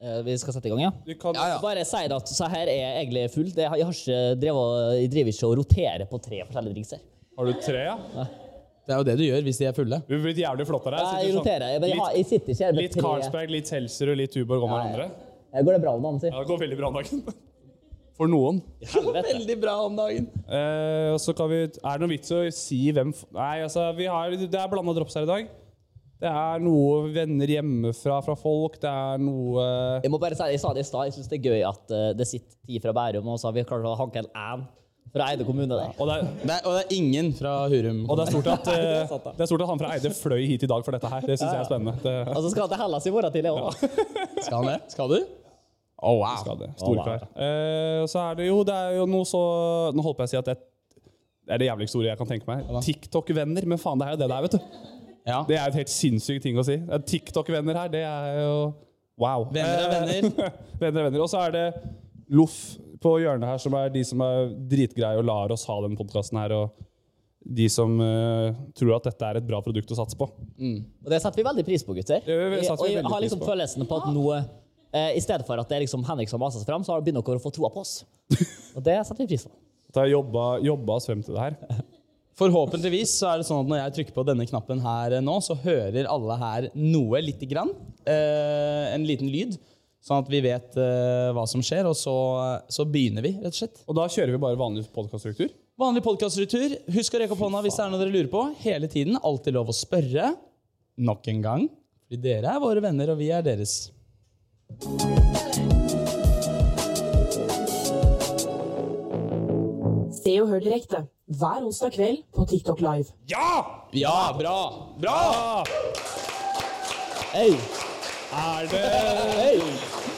Eh, Vi skal sette i gang, ja? Du kan, Bare si det at så her er jeg egentlig full. Det, jeg, har ikke drevet, jeg driver ikke og roterer på tre forskjellige drinks her. Har du tre, ja? Det er jo det du gjør hvis de er fulle. Du blir jævlig flottere her. Nei, sitter jeg sånn- roterer. Jeg, men jeg, har, jeg sitter ikke her med Litt tre. Carlsberg, litt Seltzer og litt Tuborg om Nei. hverandre. Eh, Går det bra med han, si? Ja, det går veldig bra om dagen. For noen. Helvete. Veldig bra om dagen. Eh, og så kan vi, er det noe vits å si hvem f- Nei, altså, vi har, det er blanda drops her i dag. Det er noe venner hjemmefra fra folk, det er noe Jeg må bare si, jeg sa det i stad, jeg syns det er gøy at eh, det sitter ti fra Bærum, og så har vi klart å hanke en én fra Eide kommune der. Og det er, Det er, og det er ingen fra Hurum. og det er, stort, at, eh, Det er sant, da. det er stort at han fra Eide fløy hit i dag for dette her. Det syns jeg er spennende. Det, Og så skal han til Hellas i morgen tidlig òg. Skal han det? Skal du? Å, wow. skal det. Storkar. Eh, og så er det jo, det er jo noe så Nå holdt på å si at det det er det jævligste ordet jeg kan tenke meg. TikTok-venner. Men faen, det er jo det det er, vet du. Ja. Det er jo et helt sinnssykt ting å si. Eh, TikTok-venner her, det er jo Wow. Venner Eh, er venner. venner er venner. Og så er det Loff på hjørnet her, som er de som er dritgreie og lar oss ha den podkasten her. Og de som eh, tror at dette er et bra produkt å satse på. Og det setter vi veldig pris på, gutter. Det setter vi Jeg- og jeg veldig har pris liksom på. følelsen på at nå, eh, i stedet for at det er liksom Henrik som maser seg fram, så har- begynner dere å få troa på oss. Og det setter vi pris på. Da har jobba, jobba oss frem til det her. Forhåpentligvis så er det sånn at når jeg trykker på denne knappen her eh, nå, så hører alle her noe lite grann. Eh, en liten lyd. Sånn at vi vet eh, hva som skjer, og så, eh, så begynner vi, rett og slett. Og da kjører vi bare vanlig podkaststruktur. Vanlig podkastretur. Husk å rekke opp hånda hvis det er noe dere lurer på. Hele tiden. Alltid lov å spørre. Nok en gang. Fordi dere er våre venner, og vi er deres. Se og hør direkte hver onsdag kveld på TikTok Live. Ja! Ja, bra! Bra! Hey. Er, det,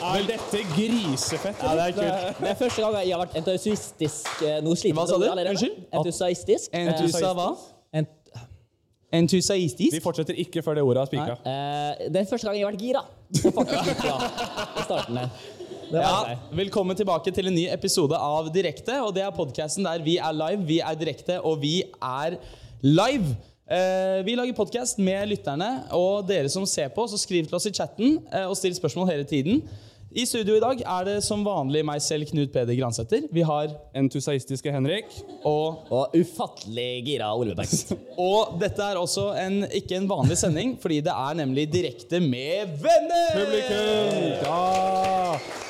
er dette grisefett? Ja, det er kult. Det er første gang jeg har vært entusiastisk eh, Nå sliter Hva sa jeg du? allerede. Unnskyld? Entusiastisk. Entusa hva? Eh, ent- Entusiastisk? Vi fortsetter ikke før det ordet er spikra. eh, det er første gang jeg har vært gira. Det er faktisk gira I starten der. Det var Ja, jeg. velkommen tilbake til en ny episode av Direkte. Og det er podkasten der vi er live, vi er direkte, og vi er live. Eh, vi lager podkast med lytterne, og dere som ser på, så skriv til oss i chatten eh, og still spørsmål hele tiden. I studio i dag er det som vanlig meg selv, Knut Peder Gransæter. Vi har Entusiastiske Henrik. og, Og ufattelig gira Ole Bergst. og dette er også en, ikke en vanlig sending, fordi det er nemlig direkte med venner! Publikum! Ja!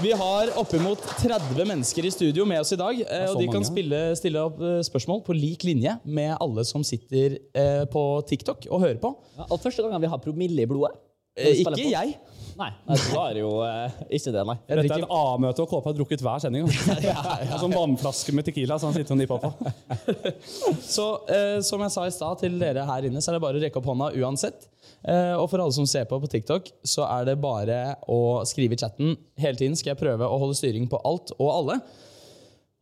Vi har oppimot 30 mennesker i studio med oss i dag. eh, så Og de kan mange. spille, stille opp eh, spørsmål på lik linje med alle som sitter eh, på TikTok og hører på. Ja, og første gangen vi har promille i blodet. Eh, Når vi Ikke spiller jeg. på- Nei, nei, du har jo eh, ikke det, nei. Jeg Dette er drikker et A-møte, og Kåpe har drukket hver sending. altså. Det er Sånn vannflaske med Tequila. så han sitter og nipper på. Så eh, som jeg sa i stad til dere her inne, så er det bare å rekke opp hånda uansett. Eh, og for alle som ser på på TikTok, så er det bare å skrive i chatten hele tiden. Skal jeg prøve å holde styring på alt og alle.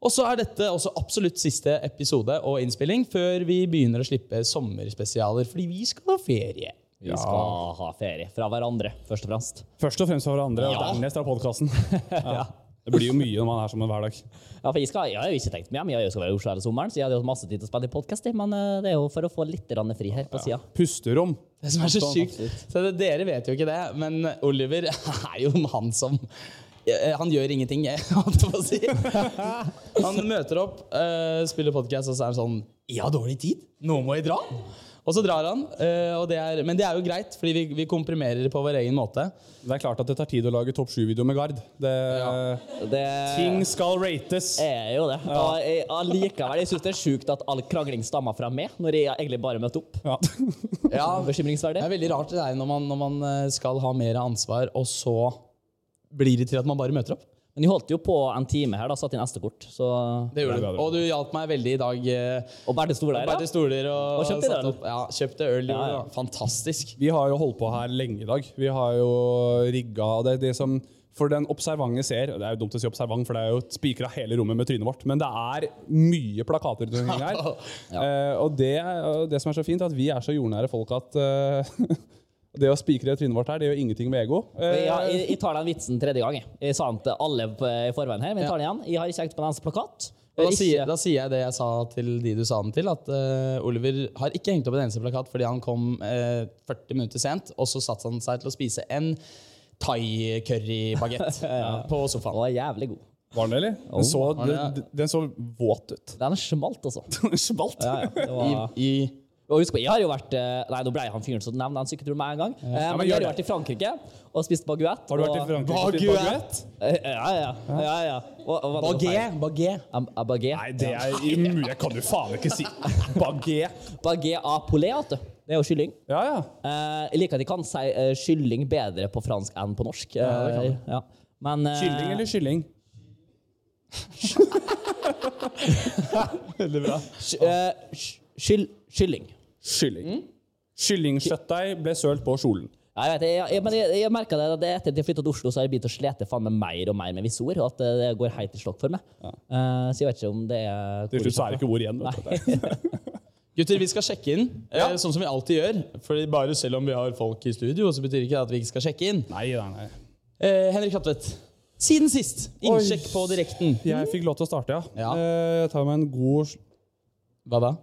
Og så er dette også absolutt siste episode og innspilling før vi begynner å slippe sommerspesialer, fordi vi skal ha ferie. Vi skal ha ferie fra hverandre, først og fremst. Først og fremst for hverandre, og Ja. dernest av podkasten. Ja. Det blir jo mye når man er sammen hver dag. Ja, for jeg, skal, jeg har jo ikke tenkt meg, men jeg skal være i Oslo hele sommeren, så jeg hadde jo masse tid til å spille podkast, men eh, det er jo for å få litt grann fri her på sida. Pusterom. Det som er så Absolutt. sykt så det, Dere vet jo ikke det, men Oliver er jo han som eh, Han gjør ingenting, jeg holdt jeg på å si. Han møter opp, eh, spiller podkast, og så er han sånn 'Jeg har dårlig tid. Nå må jeg dra.' Og så drar han. eh, og det er, men det er jo greit, fordi vi, vi komprimerer på vår egen måte. Det er klart at det tar tid å lage topp sju-video med Gard. Det, Det Ting skal rates. er jo det. Og jeg, allikevel, jeg syns det er sjukt at all krangling stammer fra meg, når jeg egentlig bare møtte opp. Ja. Ja, Bekymringsverdig. Det er veldig rart det der når man, når man eh, skal ha mer ansvar, og så blir det til at man bare møter opp. Men de holdt jo på en time her, da, satt inn SD-kort, så Det gjør du. Og du hjalp meg veldig i dag. eh, Og Berthe sto der, Bare til ja. stoler og, Og kjøpte satt øl. opp. Ja, kjøpte øl. Ja, ja. gjorde det. Fantastisk. Vi har jo holdt på her lenge i dag. Vi har jo rigga det, er det som For den observante ser og Det er jo dumt å si observant, for det er jo spikra hele rommet med trynet vårt. Men det er mye plakater rundt omkring her. Eh, og det, og det som er så fint, er at vi er så jordnære folk at eh, det å spikre trynet vårt her, det gjør ingenting med ego. Eh, Ja, jeg, jeg tar den vitsen tredje gang. Jeg, jeg sa den til alle på- i forveien her, men jeg tar den igjen. Jeg har ikke hengt på en eneste plakat. Og Da Ikke- sier, da sier jeg det jeg sa til de du sa den til, at eh, Oliver har ikke hengt opp en eneste plakat fordi han kom eh, 40 minutter sent, og så satte han seg til å spise en thai-curry-bagett på Den sofaen. var jævlig god. Var den det, eller? Den så, den, den så våt ut. Den smalt, altså. Den smalt. Ja, ja. Det var... I, Og husk på, jeg har jo vært eh, Nei, nå ble jeg han fyren som nevnte den sykkelturen med en gang. Eh, men jeg har jo gjør det. vært i Frankrike og spist baguette. Har du vært i og- Frankrike? og spist baguette? baguette! Eh, Ja, ja. ja, ja. Og, og, hva- Baguette! baguette. Em, eh, Nei, Baguette. det er umulig. Jeg kan jo faen ikke si baguette. Baguette à poulet, vet du. Det er jo kylling. Ja, ja. Eh, jeg liker at de kan si eh, kylling bedre på fransk enn på norsk. Eh, ja. Men eh, Kylling eller kylling? Veldig bra. ky- eh, ky- kyll- Kylling. Kylling. Kyllingkjøttdeig ble sølt på kjolen. Ja, Jeg vet, jeg, jeg, men jeg, jeg merket det, at det etter at jeg flyttet til Oslo, så har jeg begynt å slete faen meg mer og mer med visse ord. og At det, det går helt i slokk for meg. Eh, så jeg vet ikke om det er Til slutt så er det ikke ord igjen. vet du. Gutter, vi skal sjekke inn, eh, sånn som vi alltid gjør. Fordi bare selv om vi har folk i studio, så betyr ikke det at vi ikke skal sjekke inn. Nei, nei, nei. Eh, Henrik Hatvedt, siden sist. Innsjekk på direkten. Jeg fikk lov til å starte, ja. Ja. Eh, Jeg tar meg en god sl- Hva da?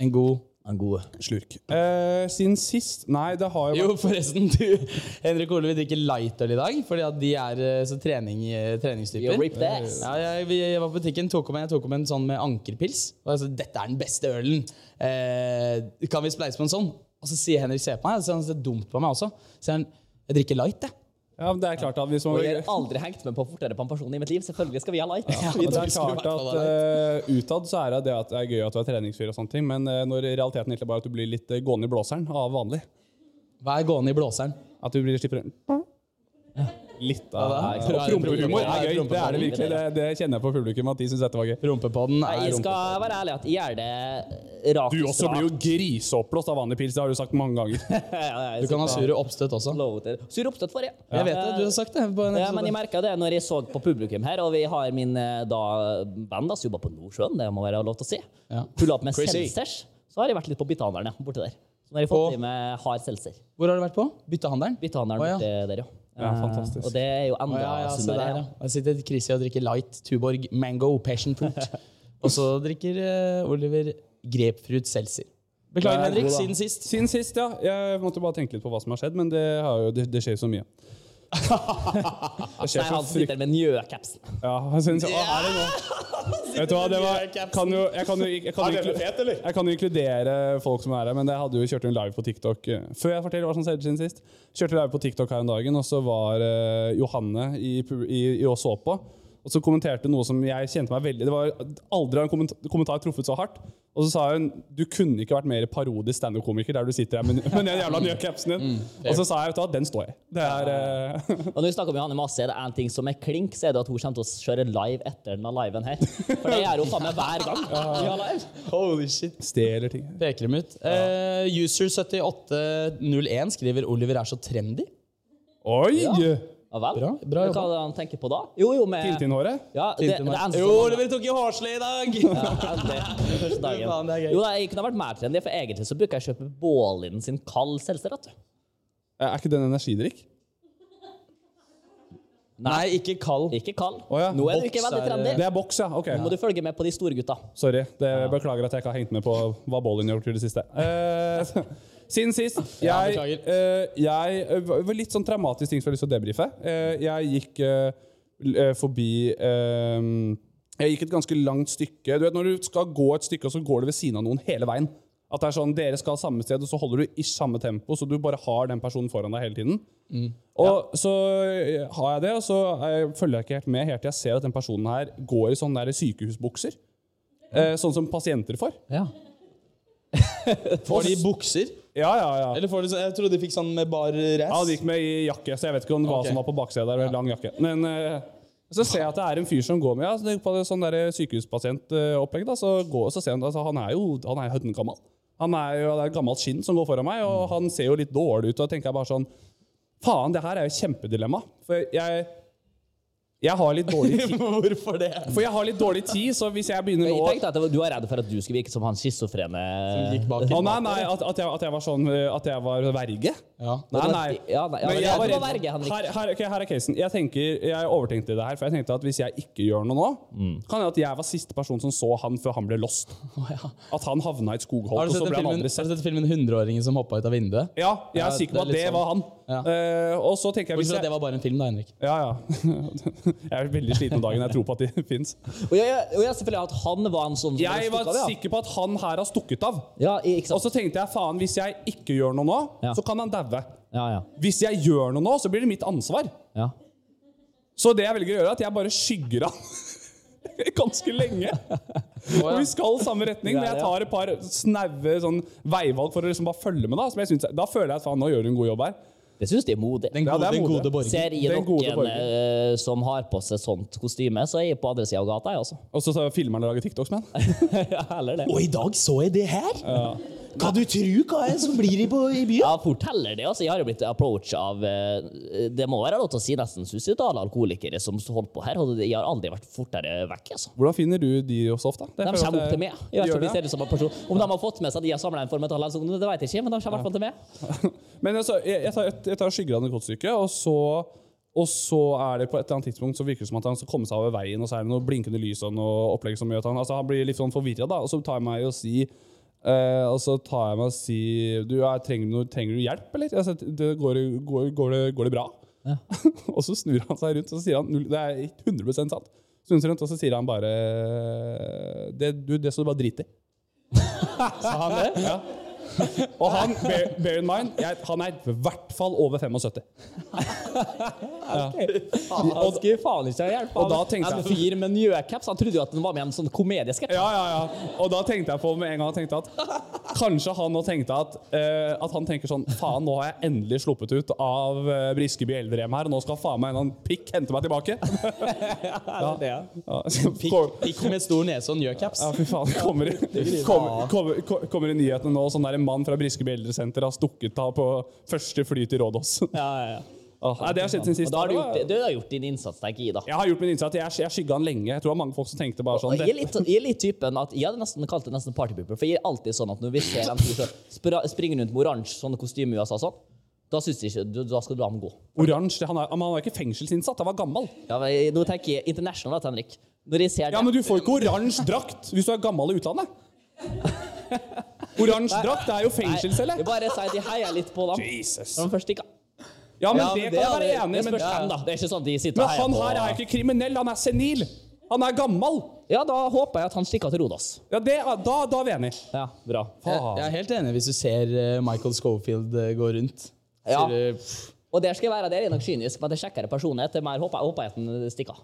En god En god slurk. Eh, Siden sist Nei, det har jo Jo, forresten, du Henrik og Ole vil drikke lightøl i dag, fordi at de er eh, så trening, eh, Yo, treningstyper. rip the ass. Ja, jeg, vi- jeg var på butikken, tok om, jeg tok om en sånn med ankerpils. Og jeg sa, dette er den beste ølen. Eh, kan vi spleise på en sånn? Og så sier Henrik, se på meg, og så er han så dumt på meg også. Så sier han, jeg drikker light, jeg. Ja, men det er klart at hvis man Og jeg har aldri hengt meg på fortere pensjon i mitt liv. Selvfølgelig skal vi ha light. Og det er skulle klart i hvert fall at eh, Utad så er det det at det er gøy at du er treningsfyr, og sånne ting, men eh, når realiteten egentlig bare er at du blir litt eh, gående i blåseren av vanlig Hva er gående i blåseren? At du blir slipper Litt av Ah, Ja, det er- Og Prompehumor Ja, er gøy. Det er det virkelig. Det, det kjenner jeg på publikum at de syns dette var gøy. Rumpepodden Nei, er Jeg skal være ærlig at jeg gjør det rakt Du også blir jo griseoppblåst av vanlig pils, det har du sagt mange ganger. Du kan ha sure oppstøtt også. Sur oppstøtt for jeg. Jeg vet det, du har sagt det. På en Ja, men jeg episode. merket det når jeg så på publikum her, og vi har min eh, da, venn da, som jobber på Nordsjøen, det må være lov til å si. Ja. Pulla opp med Crazy. selters, så har jeg vært litt på byttehandelen, ja, borte der. Så nå har jeg fått Og- i meg hard seltser. Hvor har du vært på? Byttehandelen? Byttehandelen Å, ja. borte der, ja. Ja, Eh, fantastisk. Og det er jo Å, enda ja, ja, se sunnere. der, ja. ja. Jeg sitter Chrissy og drikker light Tuborg mango passion fruit. og så drikker eh, Oliver grapefruit seltzer. Beklager, Vær Henrik, god, da. siden sist. Siden sist, ja. Jeg måtte bare tenke litt på hva som har skjedd, men det, har jo, det, det skjer jo så mye. Det Nei, skjer så han frykt... sitter med njø-kapsen. Ja, han synes, å, er det nå? Vet du hva, det var, kan jo, jeg, kan jo, jeg, kan jo, inklu- jeg kan jo inkludere folk som er her, men jeg hadde jo kjørt en live på TikTok eh, før jeg forteller hva som skjedde siden sist. Kjørte live på TikTok her om dagen, og så var eh, Johanne i, pu- i, i og så på. Og så kommenterte noe som jeg kjente meg veldig Det var aldri har en kommenta- kommentar truffet så hardt. Og så sa hun du kunne ikke vært mer parodisk standup-komiker der du sitter her med, med den jævla nye capsen din. og så sa jeg vet du hva, den står jeg. Det er eh, Og når vi snakker om Johanne Masse, er det en ting som er klink, så er det at hun kommer til å kjøre live etter denne liven her. For det gjør hun faen meg hver gang. vi har live. Holy shit. Stjeler ting. Peker dem ut. Eh, user7801 skriver Oliver er så trendy. Oi! Ja vel. Bra, bra Hva jobba. er det han tenker på da? Jo, jo, med Tintin-håret? Ja, det, sånn det er eneste Jo, som- dere tok jo hårsle i dag! Ja, det er det. Første dagen. Faen, det er gøy. Jo, da, jeg kunne ha vært mer trendy, for egentlig så bruker jeg å kjøpe Bålin sin kald seltzer. vet du. Er ikke det en energidrikk? Nei, ikke kald. Ikke kald. Å ja. Nå er du Boks ikke veldig er- trendy. Det er boks, ja. Ok. Nå må du følge med på de store gutta. Sorry. Det Beklager at jeg ikke har hengt med på hva Bollin har gjort i det siste. Eh, siden sist Ja, jeg, beklager. eh, jeg eh, var Litt sånn traumatisk ting som jeg har lyst til å debrife. Eh, jeg gikk eh, l- eh, forbi eh, Jeg gikk et ganske langt stykke. Du vet Når du skal gå et stykke, og så går du ved siden av noen hele veien. At det er sånn, Dere skal samme sted, og så holder du i samme tempo, så du bare har den personen foran deg hele tiden. Mm. Og så eh, har jeg det, og så eh, følger jeg ikke helt med helt til jeg ser at den personen her går i sånne der sykehusbukser. Eh, sånn som pasienter får. Ja. Får de bukser? Ja, ja, ja. Eller får de sånn Jeg trodde de fikk sånn med bar Ja, han rass. gikk med i jakke, så jeg vet ikke om hva Ok. som var på baksida der. Lang jakke. Men eh, så ser jeg at det er en fyr som går med ja, så tenk på det sånn der sykehuspasientopplegg. da, Så går så ser han, altså, han er jo han er høydengammal. Han er jo det er et gammelt skinn som går foran meg, og han ser jo litt dårlig ut. Og jeg tenker bare sånn Faen, det her er jo et kjempedilemma. For jeg, jeg har litt dårlig tid. Hvorfor det? For jeg har litt dårlig tid, så hvis jeg begynner Jeg nå tenkte at det var- Du var redd for at du skulle virke som han schizofrene Gikk bak i Å nei, maten. nei, at, at, jeg, at jeg var sånn eh, At jeg var verge? Ja. Nei, Ja, nei. nei, ja, Men men jeg det var var redd- verge, Henrik. her, her, ok, her er casen. Jeg, tenker, jeg overtenkte det her, for jeg tenkte at hvis jeg ikke gjør noe nå, Mm. kan det at jeg var siste person som så han før han ble lost. At han havna i et skogholt, Har og du så sett den ble han filmen, aldri har sett. du sett filmen 100-åringen som hoppa ut av vinduet? Ja, jeg er Ja, sikker det på er at det litt var han. sånn. Eh, og så tenker jeg hvis Bortsett fra at jeg, det var bare en film, da, Henrik. ja, ja. jeg er veldig sliten om dagen. Jeg tror på at de fins. Og jeg, og jeg selvfølgelig at han var en sånn som Jeg stukket var av, ja. sikker på at han her har stukket av. Ja, i- ikke Og sant? så tenkte jeg faen, hvis jeg ikke gjør noe nå, Ja. så kan han daue. Ja, ja. Hvis jeg gjør noe nå, så blir det mitt ansvar. ja. Så det jeg velger å gjøre, er at jeg bare skygger han ganske lenge. Og vi skal samme retning, men jeg tar et par snaue sånn, veivalg for å liksom bare følge med. Da som jeg synes, da føler jeg at faen, nå gjør du en god jobb her. Det syns de er modig. Den Ja, gode, det er den modig. gode borger. Ser i Den gode noen borger. eh, som har på seg sånt kostyme, så er jeg på andre sida av gata, jeg også. Og så filmer han og lager TikToks med han. Eller det. Og i dag så jeg det her! Kan du tru hva jeg som blir i, på, i byen? Ja, forteller det. altså. Jeg har jo blitt approach av eh, Det må være lov til å si nesten suicidale alkoholikere som holdt på her. og Jeg har aldri vært fortere vekk. altså. Hvordan finner du de også ofte? Det De føler jeg at kommer jeg- opp til meg. Jeg vet ikke Gjør om de det? ser ut som en person. Om de har fått med seg at de har samla en for Metall Helse Ungdom, det vet jeg ikke, men de kommer i hvert fall til meg. Men altså, jeg, jeg, tar, jeg, jeg tar skygger av et godt stykke, og så, og så er det på et eller annet tidspunkt så virker det som at han skal komme seg over veien, og så er det noe blinkende lys og noe opplegg som gjør at han, altså, han blir litt sånn forvirra, da. Og så tar jeg meg i å si eh, og så tar jeg meg og si du, jeg trenger, du noe, trenger du hjelp, eller? Altså, det går, går, går, det, går det bra? og så snur han seg rundt, og så sier han null- Det er 100 sant. Snur seg rundt, og så sier han bare Det, du, det skal du bare drite i. Sa han det? Ja. Og han, bear, bear in mind, jeg, han er i hvert fall over 75. Han skulle faen ikke ha hjelp Og da tenkte en jeg- fyr med njøcaps. Han trodde jo at han var med i en sånn komediesketsj. Ja, ja, ja. Og da tenkte jeg på med en gang jeg tenkte at kanskje han nå tenkte at, eh, at han tenker sånn Faen, nå har jeg endelig sluppet ut av eh, Briskeby eldrehjem her, og nå skal faen meg en eller annen pikk hente meg tilbake. Ja. Ja, så Pikk, pikk med stor nese og njøcaps. Ja, fy faen. det Kommer i, kommer, kommer, ko- kommer i nyhetene nå sånn der en mann fra Briskeby eldresenter har stukket av på første fly til Rådås. Ja, ja, ja. Ah, Nei, det har skjedd siden Og sist. da har du gjort, du har gjort din innsats, tenker jeg, da. Jeg har gjort min innsats. Jeg, jeg skygga han lenge. Jeg tror det var mange folk som tenkte bare sånn Og Jeg er, litt, jeg er litt typen at Jeg hadde nesten kalt det nesten partypooper. For jeg er alltid sånn at når vi ser en fyr som spra- springer rundt med oransje sånne kostyme i USA sånn, da syns jeg ikke du- Da skal du la ham gå. Oransje. Han er, men han er ikke fengselsinnsatt, han var gammel. Ja, men jeg- nå tenker jeg international, da, Henrik. Når jeg ser det Ja, men du får ikke oransje drakt hvis du er gammel i utlandet. Oransje drakt det er jo Nei, fengselscelle. jeg bare sier at jeg heier litt på dem. Jesus. Når de først stikker. Ja, men Ja, det kan jeg er- være enig det i, men, spørs hvem, da. Det er ikke sånn at de sitter og men heier han på her er ikke kriminell. Han er senil. Han er gammel. Ja, da håper jeg at han stikker til Rodas. Ja, det, er- da, da er vi enige. Ja, bra. Jeg, jeg er helt enig hvis du ser eh, Michael Schofield eh, gå rundt. Ja. Sier du, pff, Og der skal jeg være, der er jeg nok kynisk, men det er kjekkere personlighet. Det er mer håper jeg, håper jeg at han stikker.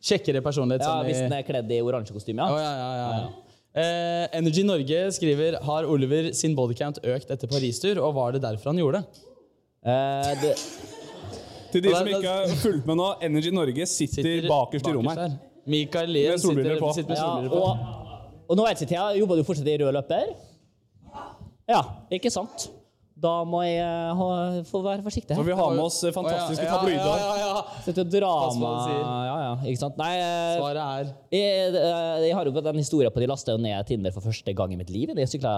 Kjekkere sånn personlighet. Ja, som i- hvis han er kledd i oransje kostyme, Å, ja. ja, ja, ja, ja. Eh, Energy Norge skriver Har Oliver sin bodycount økt etter Paris-tur, og var det derfor han gjorde det? Eh, det, Til de Ja, som da- ikke har fulgt med nå, Energy Norge sitter bakerst i rommet her. der. Mikael Lien Med solbriller sitter, på. sitter med Ja, solbriller på. og, og nå vet jeg ikke, Thea, jobber du fortsatt i rød løper? Ja, ikke sant? Da må jeg eh, ha, få være forsiktig. Så vi har med oss eh, fantastiske tabloider. Ja, ja, ja. Sitter og drar Pass på meg hva du sier. Ja, ja, ikke sant? Nei, eh, Svaret er jeg, eh, jeg har jo den historien på de lasta jo ned Tinder for første gang i mitt liv. Jeg sykla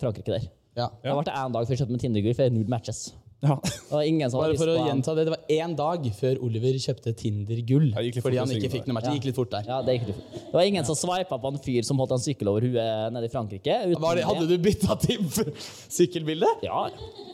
Frankrike der. ja. Da ble det én dag før jeg kjøpte meg Tinder-gur, for jeg har null matches. Ja. Det var ingen som hadde Bare lyst for å på en- gjenta det, det var én dag før Oliver kjøpte Tinder-gull. Ja, gikk litt fort Fordi å han ikke synge fikk der. noe match. Det gikk litt fort der. Ja, det, gikk litt fort. det var ingen som sveipa på en fyr som holdt en sykkel over huet nede i Frankrike. uten Var det, hadde du bytta til sykkelbilde? Ja.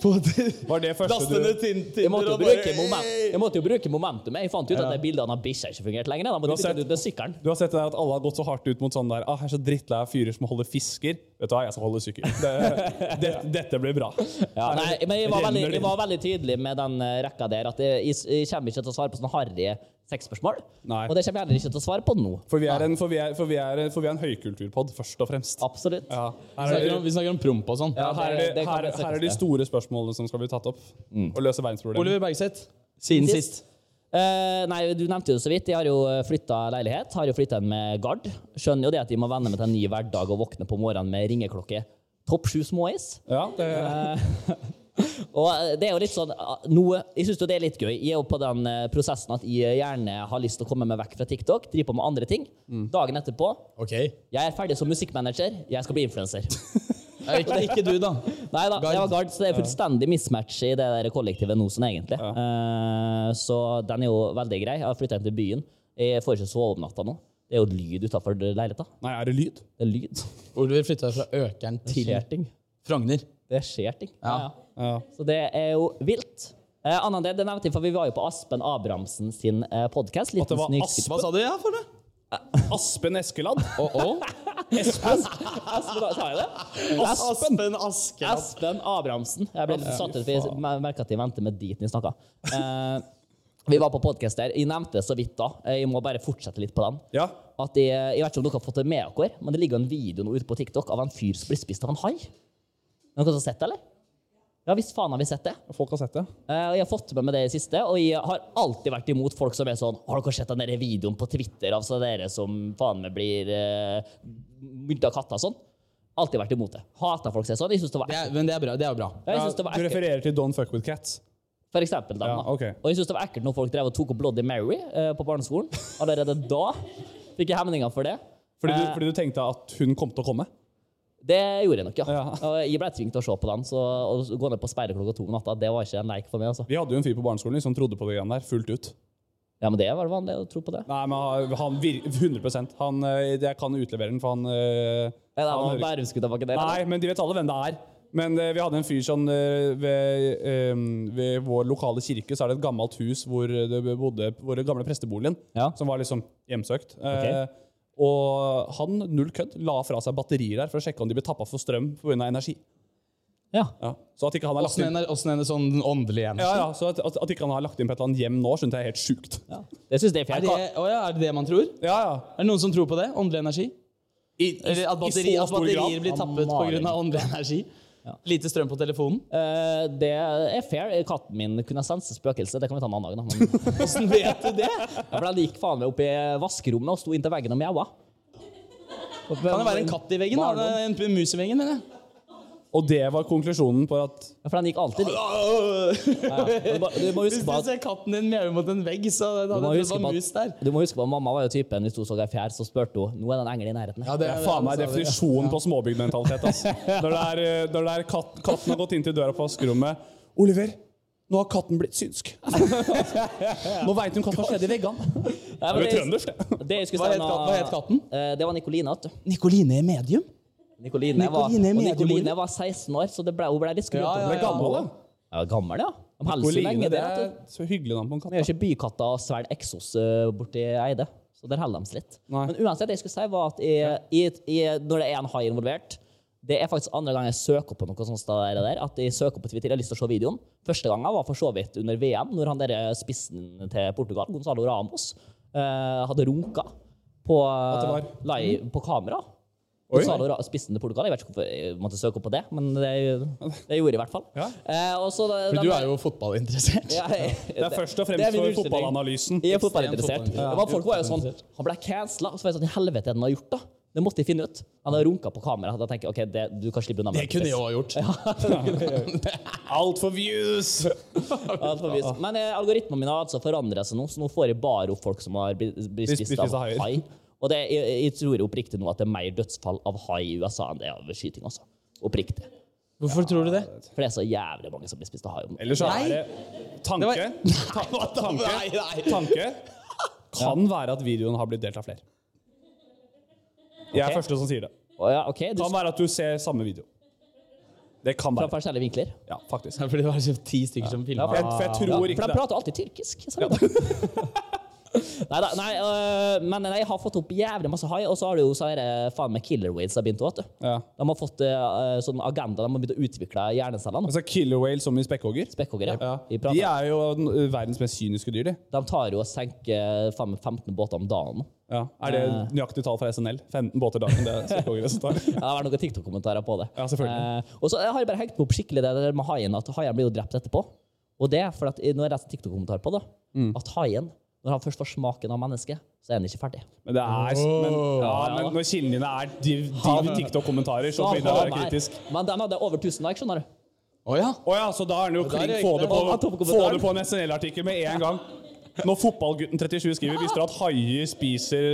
På det, Var det første Laste du- ned Tin- Tinder Jeg måtte, jo og bruke bare- moment, jeg måtte jo bruke momentum. Jeg fant ut at Ja. de bildene av bikkja ikke fungerte lenger. Da måtte jeg bytte har sett- det ut med sykkelen. Du har sett det der at alle har gått så hardt ut mot sånn der ah, 'Jeg er så drittlei av fyrer som holder fisker'. Vet du hva, jeg skal holde sykkel. Det, det, dette blir bra. Ja, nei, men jeg var, Renner veldig, det jeg var veldig tydelig med den eh, rekka der at jeg, jeg, jeg kommer ikke til å svare på sånne harry sexspørsmål. Nei. Og det kommer jeg heller ikke til å svare på nå. For vi er en, for vi er, for vi er, for vi er en høykulturpod, først og fremst. Absolutt. Ja. Vi Her, er snakker det, om- Vi snakker om promp og sånn. Ja, her, er det, det kan her, jeg her er de sette. store spørsmålene som skal bli tatt opp. Mm. Og løse verdensproblemer. Oliver Bergseth, siden Sist. sist. Eh, nei, du nevnte jo det så vidt. Jeg har jo flytta leilighet. Har jo flytta en med gard. Skjønner jo det at jeg må venne meg til en ny hverdag og våkne på morgenen med ringeklokke. Topp sju småis. Ja, det, Og eh, det er jo litt sånn ah, noe, Jeg syns jo det er litt gøy. Jeg er jo på den eh, prosessen at jeg gjerne har lyst til å komme meg vekk fra TikTok, drive på med andre ting. Dagen etterpå Ok. Jeg er ferdig som musikkmanager, jeg skal bli influenser. Ja, ikke, ikke du, da. Nei da, det Gard. var Gard, så det er fullstendig mismatch i det der kollektivet nå sånn egentlig. Eh, så den er jo veldig grei. Jeg har flytta inn til byen. Jeg får ikke sove om natta nå. Det er jo lyd utafor leiligheta. nei, er det lyd? Det er lyd. Oliver flytta fra Økern Det til skjer ting. Frogner. Det skjer ting. Ja. Ja. Ja, Så det er jo vilt. Eh, Annet enn det, det nevnte jeg, for vi var jo på Aspen Abrahamsen sin eh, podkast. At det var Hva sa du? Ja, for det? Eh, Aspen Eskeladd? Aspen? Aspen, sa jeg det? Aspen. Aspen Askeladd. Espen Abrahamsen. Jeg ble litt satt ut, for jeg merket at jeg venter med dit når jeg snakket. Eh, vi var på podcast der. Jeg nevnte det så vidt da. Eh, Jeg må bare fortsette litt på den. Ja. At jeg, jeg vet ikke om dere har fått det med dere, men det ligger en video nå ute på TikTok av en fyr som blir spist av en hai. Noen som har sett det, eller? Ja, visst faen har vi sett det. Folk har sett det. Eh, og jeg har fått med meg det i siste, og jeg har alltid vært imot folk som er sånn Har dere sett den der videoen på Twitter av sånne dere som faen meg blir uh, mynta av katter og sånn? Alltid vært imot det. Hater folk seg sånn. Jeg synes det var Det er, men det er bra. Det er jo bra. ja, jeg Ja, synes det du var ekkelt. refererer til Don't Fuck With Cats. For eksempel dem, Ja, da. ok. Og jeg synes det var ekkelt når folk drev og tok opp Bloody Mary eh, på barneskolen. Allerede da fikk jeg hemninger for det. Fordi du, Eh. fordi du tenkte at hun kom til å komme? Det gjorde jeg nok, ja. Ja. Og jeg ble tvunget til å se på den. Så å gå ned på speilet klokka to om natta, det var ikke en leik for meg, altså. Vi hadde jo en fyr på barneskolen liksom, som trodde på det greiene der fullt ut. Ja, men det var vanlig å tro på det. Nei, men han vir 100 han, eh, Jeg kan utlevere den, for han eh, Nei, det han var hører- Bærumsgutta bak der. Nei, eller? men de vet alle hvem det er. Men eh, vi hadde en fyr sånn eh, ved, eh, ved vår lokale kirke så er det et gammelt hus hvor det bodde våre gamle presteboligen, Ja. som var liksom hjemsøkt. Eh, Og han, null kødd, la fra seg batterier der for å sjekke om de ble tappa for strøm pga. energi. Ja. Ja. Så at ikke han har lagt Åssen inn er åssen er det sånn åndelig igjen? ja, ja, så at, at, at ikke han har lagt inn på et eller annet hjem nå, skjønte jeg er helt sjukt. Ja, Det synes jeg er Er fint. det, å ja, er det det man tror? ja. Er det noen som tror på det? Åndelig energi? Eller at, batteri, så at stor batterier grad. blir tappet pga. åndelig energi? Lite strøm på telefonen? Eh, det er fair. Katten min kunne sense spøkelser. Det kan vi ta en annen dag, da. Men, Åssen vet du det? ja, for den gikk faen meg opp i vaskerommet og sto inntil veggen og mjaua. Kan det være en katt i veggen? Da? Det er En mus i veggen, eller? Og det var konklusjonen på at Ja, For den gikk alltid litt. Hvis Du må- Du må huske du på at ser katten din mjaue mot en vegg, så det, Du må, det, huske var på mus der. at, du må huske på at mamma var jo typen hvis hun så ei fjær, så spurte hun nå er det en engel i nærheten. her». Det er faen altså, meg definisjonen på småbygdmentalitet. ass. Når det er, eh, når det er katt, katten har gått inn til døra på vaskerommet Oliver, nå har katten blitt synsk. nå veit hun hva som skjedde i veggene. Nei, men Det er jo det- trøndersk, det. det jeg skulle si Hva het nå- katten- hva het katten? Eh, Det var Nikoline. vet du. Nikoline medium? Nikoline var, og Nikoline er mediemor. Nikoline var 16 år, så det ble, hun ble litt skrudd Ja, opp. ja, Det er gammel, da. Ja, gammel, ja. De holder så lenge, det. Coline, det vet er du. så hyggelig navn på en De gjør katt. da. ikke bykatta og svelger Exos eh, borti Eide, så der holder de seg litt. Nei. Men uansett, det jeg skulle si, var at jeg, jeg, jeg, når det er en hai involvert det er faktisk andre gang jeg søker på noe sånt der, der, at jeg søker på Twitter, jeg har lyst til å se videoen. Første gangen var for så vidt under VM, når han der eh, spissen til Portugal, Gonzalo Ramos, eh, hadde runka på, eh, At det live, på kamera. Oi. Gonzalo Ra- spissen til Portugal, jeg vet ikke hvorfor jeg måtte søke opp på det, men det, det gjorde jeg i hvert fall. Ja. Eh, og så da- Du er jo fotballinteressert. Ja, jeg- Det er først og det er fremst min for unnskyldning. fotballanalysen. Jeg er fotballinteressert. Ekstremt fotballinteressert. Det var- Folk var jo sånn Han ble cancela. Så var jeg sånn I helvete er det han har gjort, da? Det måtte jeg finne ut. Han hadde runka på kamera. Hadde jeg tenkt, ok, det, du kan slippe unna med Det kunne jeg òg gjort. Alt for views! Ja, det får vi vise. Men eh, algoritmene mine har altså forandra seg nå, så nå får jeg bare opp folk som har blitt, blitt spist av haier. hai. Og det, jeg, jeg tror oppriktig nå at det er mer dødsfall av hai i USA enn det er av skyting, altså. Oppriktig. Hvorfor tror du det? For det er så jævlig mange som blir spist av hai om dagen. Eller så Nei. er det tanke. Nei, hva da? Nei, nei. Tanke kan være at videoen har blitt delt av flere. Jeg er første som sier det. Å ja, ok, du Kan være at du ser samme video. Det kan fra være. forskjellige vinkler. Ja, faktisk. Ja, Fordi det var liksom ti stykker som filma. Jeg, for jeg tror For ikke de det. prater alltid tyrkisk. Så vet du. Neida, nei, øh, men jeg har fått opp jævlig masse hai, og så har det jo så her, eh, faen meg killer whales har begynt òg. Ja. De har fått eh, sånn agenda, de har begynt å utvikle hjerneceller. nå. Altså Killer whale som i spekkhogger. Spekkhoggere. Ja. Vi prater- De er jo den, ø, verdens mest kyniske dyr, de. De tar jo og senker øh, faen meg 15 båter om dagen. Ja. Er det Eh. nøyaktig tall fra SNL? 15 båter dagen det er spekkhoggere som tar. Ja, Det har vært noen TikTok-kommentarer på det. Ja, selvfølgelig. Eh, og så har jeg bare hengt meg opp skikkelig det der med haien, at haien blir jo drept etterpå. Og det er fordi at nå har jeg lest en TikTok-kommentar på det, Mm. at haien, når han først får smaken av mennesket, så er han ikke ferdig. Men det er men, ja, men når kildene dine er div, div TikTok-kommentarer, så begynner Ah, det å han være er- kritisk. Men den hadde over 1000 likes, skjønner du. Å ja. Å ja, så da er den jo da er klink det få riktig. Ja, det på, få toppkommentaren. det på en SNL-artikkel med en gang. Når fotballgutten 37 skriver, visste dere at haier spiser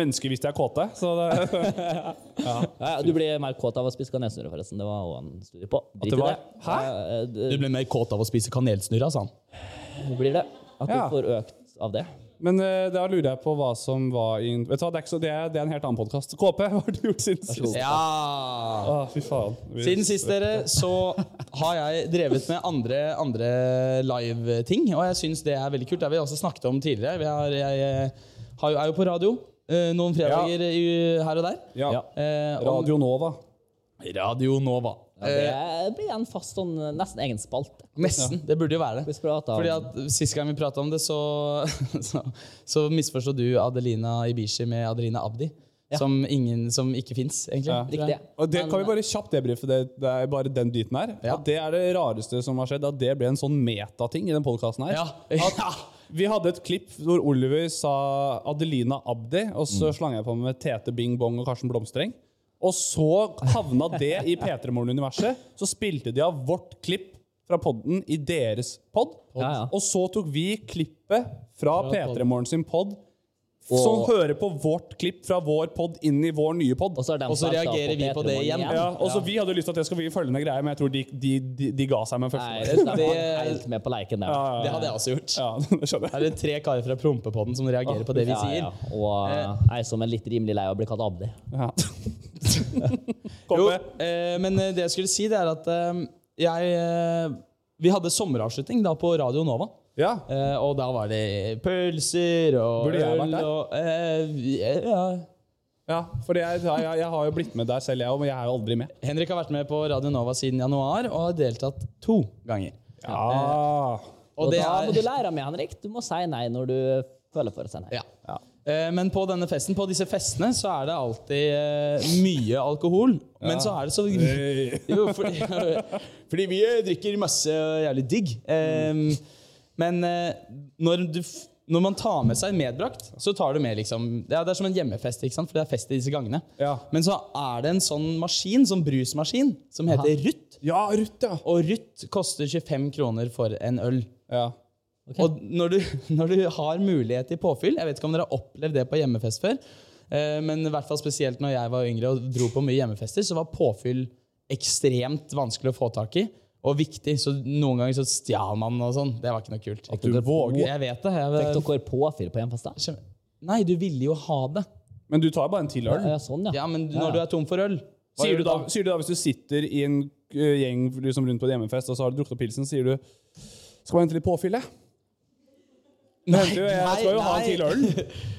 mennesker hvis de er kåte? Så det, Ja, ja, du blir mer kåt av å spise kanelsnurre, forresten. Det var også en studie på. Drit i det var- det. Hæ? Ja, eh, Du det- ble mer kåt av å spise kanelsnurra, sa han. Det blir det. At du Ja. får økt av det. men eh, da lurer jeg på hva som var i Vet du hva, det er, ikke så, det er, det er en helt annen podkast. KP, hva har du gjort siden sist? Ja. Å, fy faen. Vi- Siden sist, dere, så har jeg drevet med andre, andre live-ting, og jeg syns det er veldig kult. Det har vi også snakket om tidligere. Vi har, jeg eh, har, jo- er jo på radio eh, noen fredager i- her og der. Ja. Eh, om- Radio Nova. radio Nova. Det eh, blir en fast sånn eh, nesten egen spalte. nesten. Det burde jo være det. Hvis vi prater om- Fordi at Sist gang vi prata om det, så, så, så misforstod du Adelina Ibishi med Adelina Abdi. Som, ingen, som ikke fins, egentlig. tror jeg. Riktig. Og det Men- eh, Kan vi bare kjapt debrife det, det er bare den biten her? Ja. At det er det rareste som har skjedd. At det ble en sånn metating i den podkasten her. Ja. Ja. At vi hadde et klipp hvor Oliver sa Adelina Abdi, og så slang jeg på med Tete Bing Bong og Karsten Blomstreng. Og så havna det i P3 Morgen-universet. Så spilte de av vårt klipp fra podden i deres pod. Ja, ja. Og så tok vi klippet fra P3 Morgen sin pod, som hører på vårt klipp fra vår pod inn i vår nye pod. Og så, er de Og så som er på reagerer vi på det P3-morgen igjen. Ja, og så Vi hadde jo lyst til at det skulle bli følgende greie, men jeg tror de, de, de, de ga seg med den Nei, første. det er helt med på leiken der. Det hadde jeg også gjort. Ja, det skjønner jeg. Er det tre karer fra Prompepodden som reagerer på det vi Ja, sier? ja. Og eh, jeg som er litt rimelig lei av å bli kalt Abdi. Ja. Jo, Komme. eh, men eh, det jeg skulle si, det er at eh, jeg eh, Vi hadde sommeravslutning da på Radio Nova. Ja. Eh, og da var det pølser og Burde jeg vært der? og eh, vi- eh, ja. ja, for jeg, jeg, jeg har jo blitt med der selv, jeg òg, men jeg er jo aldri med. Henrik har vært med på Radio Nova siden januar og har deltatt to ganger. Ah. Og Og det da er- må du lære av meg, Henrik. Du må si nei når du føler for å si nei. Ja. Eh, Men på denne festen, på disse festene så er det alltid eh, mye alkohol. Men så er det Eh, så jo, fordi, fordi vi eh, drikker masse og er jævlig digg. Eh, Mm. Men eh, når, du, f- når man tar med seg medbrakt, så tar du med liksom ja, Det er som en hjemmefest, ikke sant? for det er fest i disse gangene. Ja. Men så er det en sånn maskin, sånn brusmaskin, som heter Ruth. Ja, Ruth, ja. Og Ruth koster 25 kroner for en øl. ja. Og når du, når du har mulighet til påfyll Jeg vet ikke om dere har opplevd det på hjemmefest før, eh, men i hvert fall spesielt når jeg var yngre og dro på mye hjemmefester, så var påfyll ekstremt vanskelig å få tak i. Og viktig, så noen ganger så stjal man og sånn. Det var ikke noe kult. du våger. Jeg vet det. Fikk Jeg, dere påfyll på hjemfest, da? nei, du ville jo ha det. Men du tar bare en til øl. Ja, sånn, ja. Ja, men når du er tom for øl hva Sier gjør du, da, sier du da hvis du sitter i en ø, gjeng liksom rundt på en hjemmefest, og så har du drukket opp pilsen, sier du Skal vi hente litt påfyll, jeg? Nei, Du, jeg skal jo ha en nei. til øl.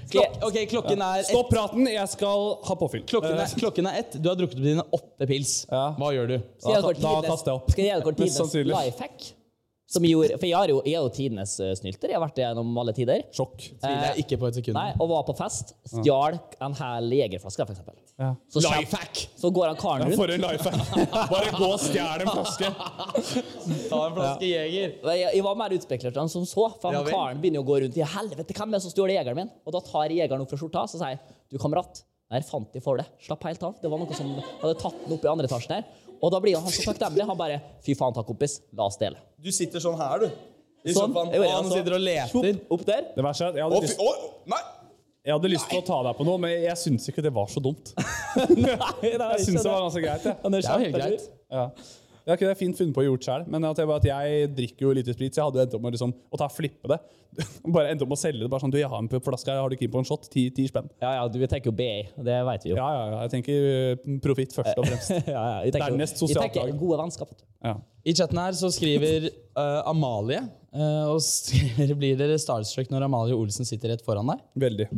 Klok ok, klokken er ett. Stopp praten, jeg skal ha påfyll. Eh, Klokken er, klokken er ett. Du har drukket opp dine åtte pils. Hva gjør du? Skal jeg Da- gjøre da tidenes- kaster jeg opp. Skal jeg gjøre Mest tidenes sannsynlig. lifehack? Som gjorde, for jeg er jo, jeg er jo tidenes eh, snylter. Jeg har vært det gjennom alle tider. Sjokk. Tviler jeg Eh, ikke på et sekund. Nei, og var på fest. Stjal en hel jegerflaske, for eksempel. Så, kjem- Lifehack! så går han karen rundt. For en life Bare gå og stjel en flaske. Ta en flaske Jeger. Jeg, jeg var mer utspekulert enn som så. For Ja han vel. karen begynner jo å gå rundt i helvete, hvem er det som stjal jegeren min? Og da tar jegeren opp fra skjorta så sier jeg, du kamerat, Der fant de for det. Slapp helt av. Det var noe som hadde tatt den opp i andre etasjen her. Og da blir han så takknemlig. Han bare Fy faen, takk, kompis. La oss dele. Du sitter sånn her, du. I Sånn. sofaen. Jeg gjorde Og han altså- sitter og leter. Tjopp, opp der. Det verste er at jeg Å, hadde, fy, lyst, å, nei! jeg hadde lyst til å ta deg på noe, men jeg syns ikke det var så dumt. Jeg syns det var ganske greit, jeg. Det er jo helt greit. Ja. Det er ikke det fint funnet på å gjort selv, men at jeg, bare at jeg drikker jo lite sprit, så jeg hadde jo endt opp med liksom, å ta flippe det. Bare endt opp med å selge det. Bare sånn, du, jeg har en flaske her, har du keen på en shot? Ti, ti spenn. Ja, ja, du, vi tenker jo BA. Det vet vi jo. Ja, ja, ja. Jeg tenker eh, profitt først og fremst. Ja, ja, vi tenker, Dernest vi sosialt tenker lag. gode vennskap. vet du. Ja. I chatten her så skriver eh, Amalie eh, og skriver, Blir dere starstruck når Amalie Olsen sitter rett foran deg? Veldig.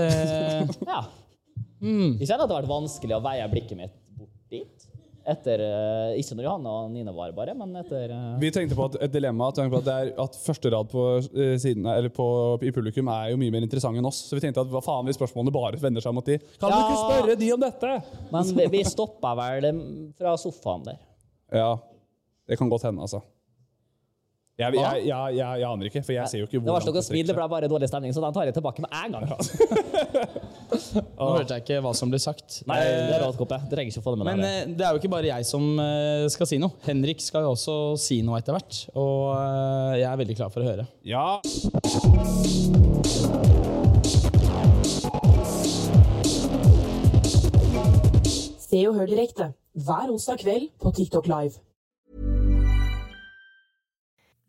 det Ja. Jeg Mm. kjenner at det har vært vanskelig å veie blikket mitt bort dit. Etter, eh, ikke når Johanne og Nina var bare, men etter eh, Vi tenkte på at et dilemma at, at, det er, at første rad på, eh, siden, eller på, i publikum er jo mye mer interessant enn oss. Så vi tenkte at hva faen hvis spørsmålene bare vender seg mot de? Kan du ikke Ja. spørre de om dette? Men vi, vi stoppa vel dem fra sofaen der. Ja, det kan godt hende, altså. Jeg, jeg, jeg, jeg, jeg, aner ikke, for jeg ser jo ikke Det var ikke hvordan noe smil, det ble bare dårlig stemning, så den tar jeg tilbake med en gang. Nå hørte jeg ikke hva som ble sagt. Nei, Eh, det er rått, Koppe. Du trenger ikke å få det med Men deg. eh, det er jo ikke bare jeg som eh, skal si noe. Henrik skal jo også si noe etter hvert. Og eh, jeg er veldig klar for å høre. Ja. Se og hør direkte hver onsdag kveld på TikTok Live.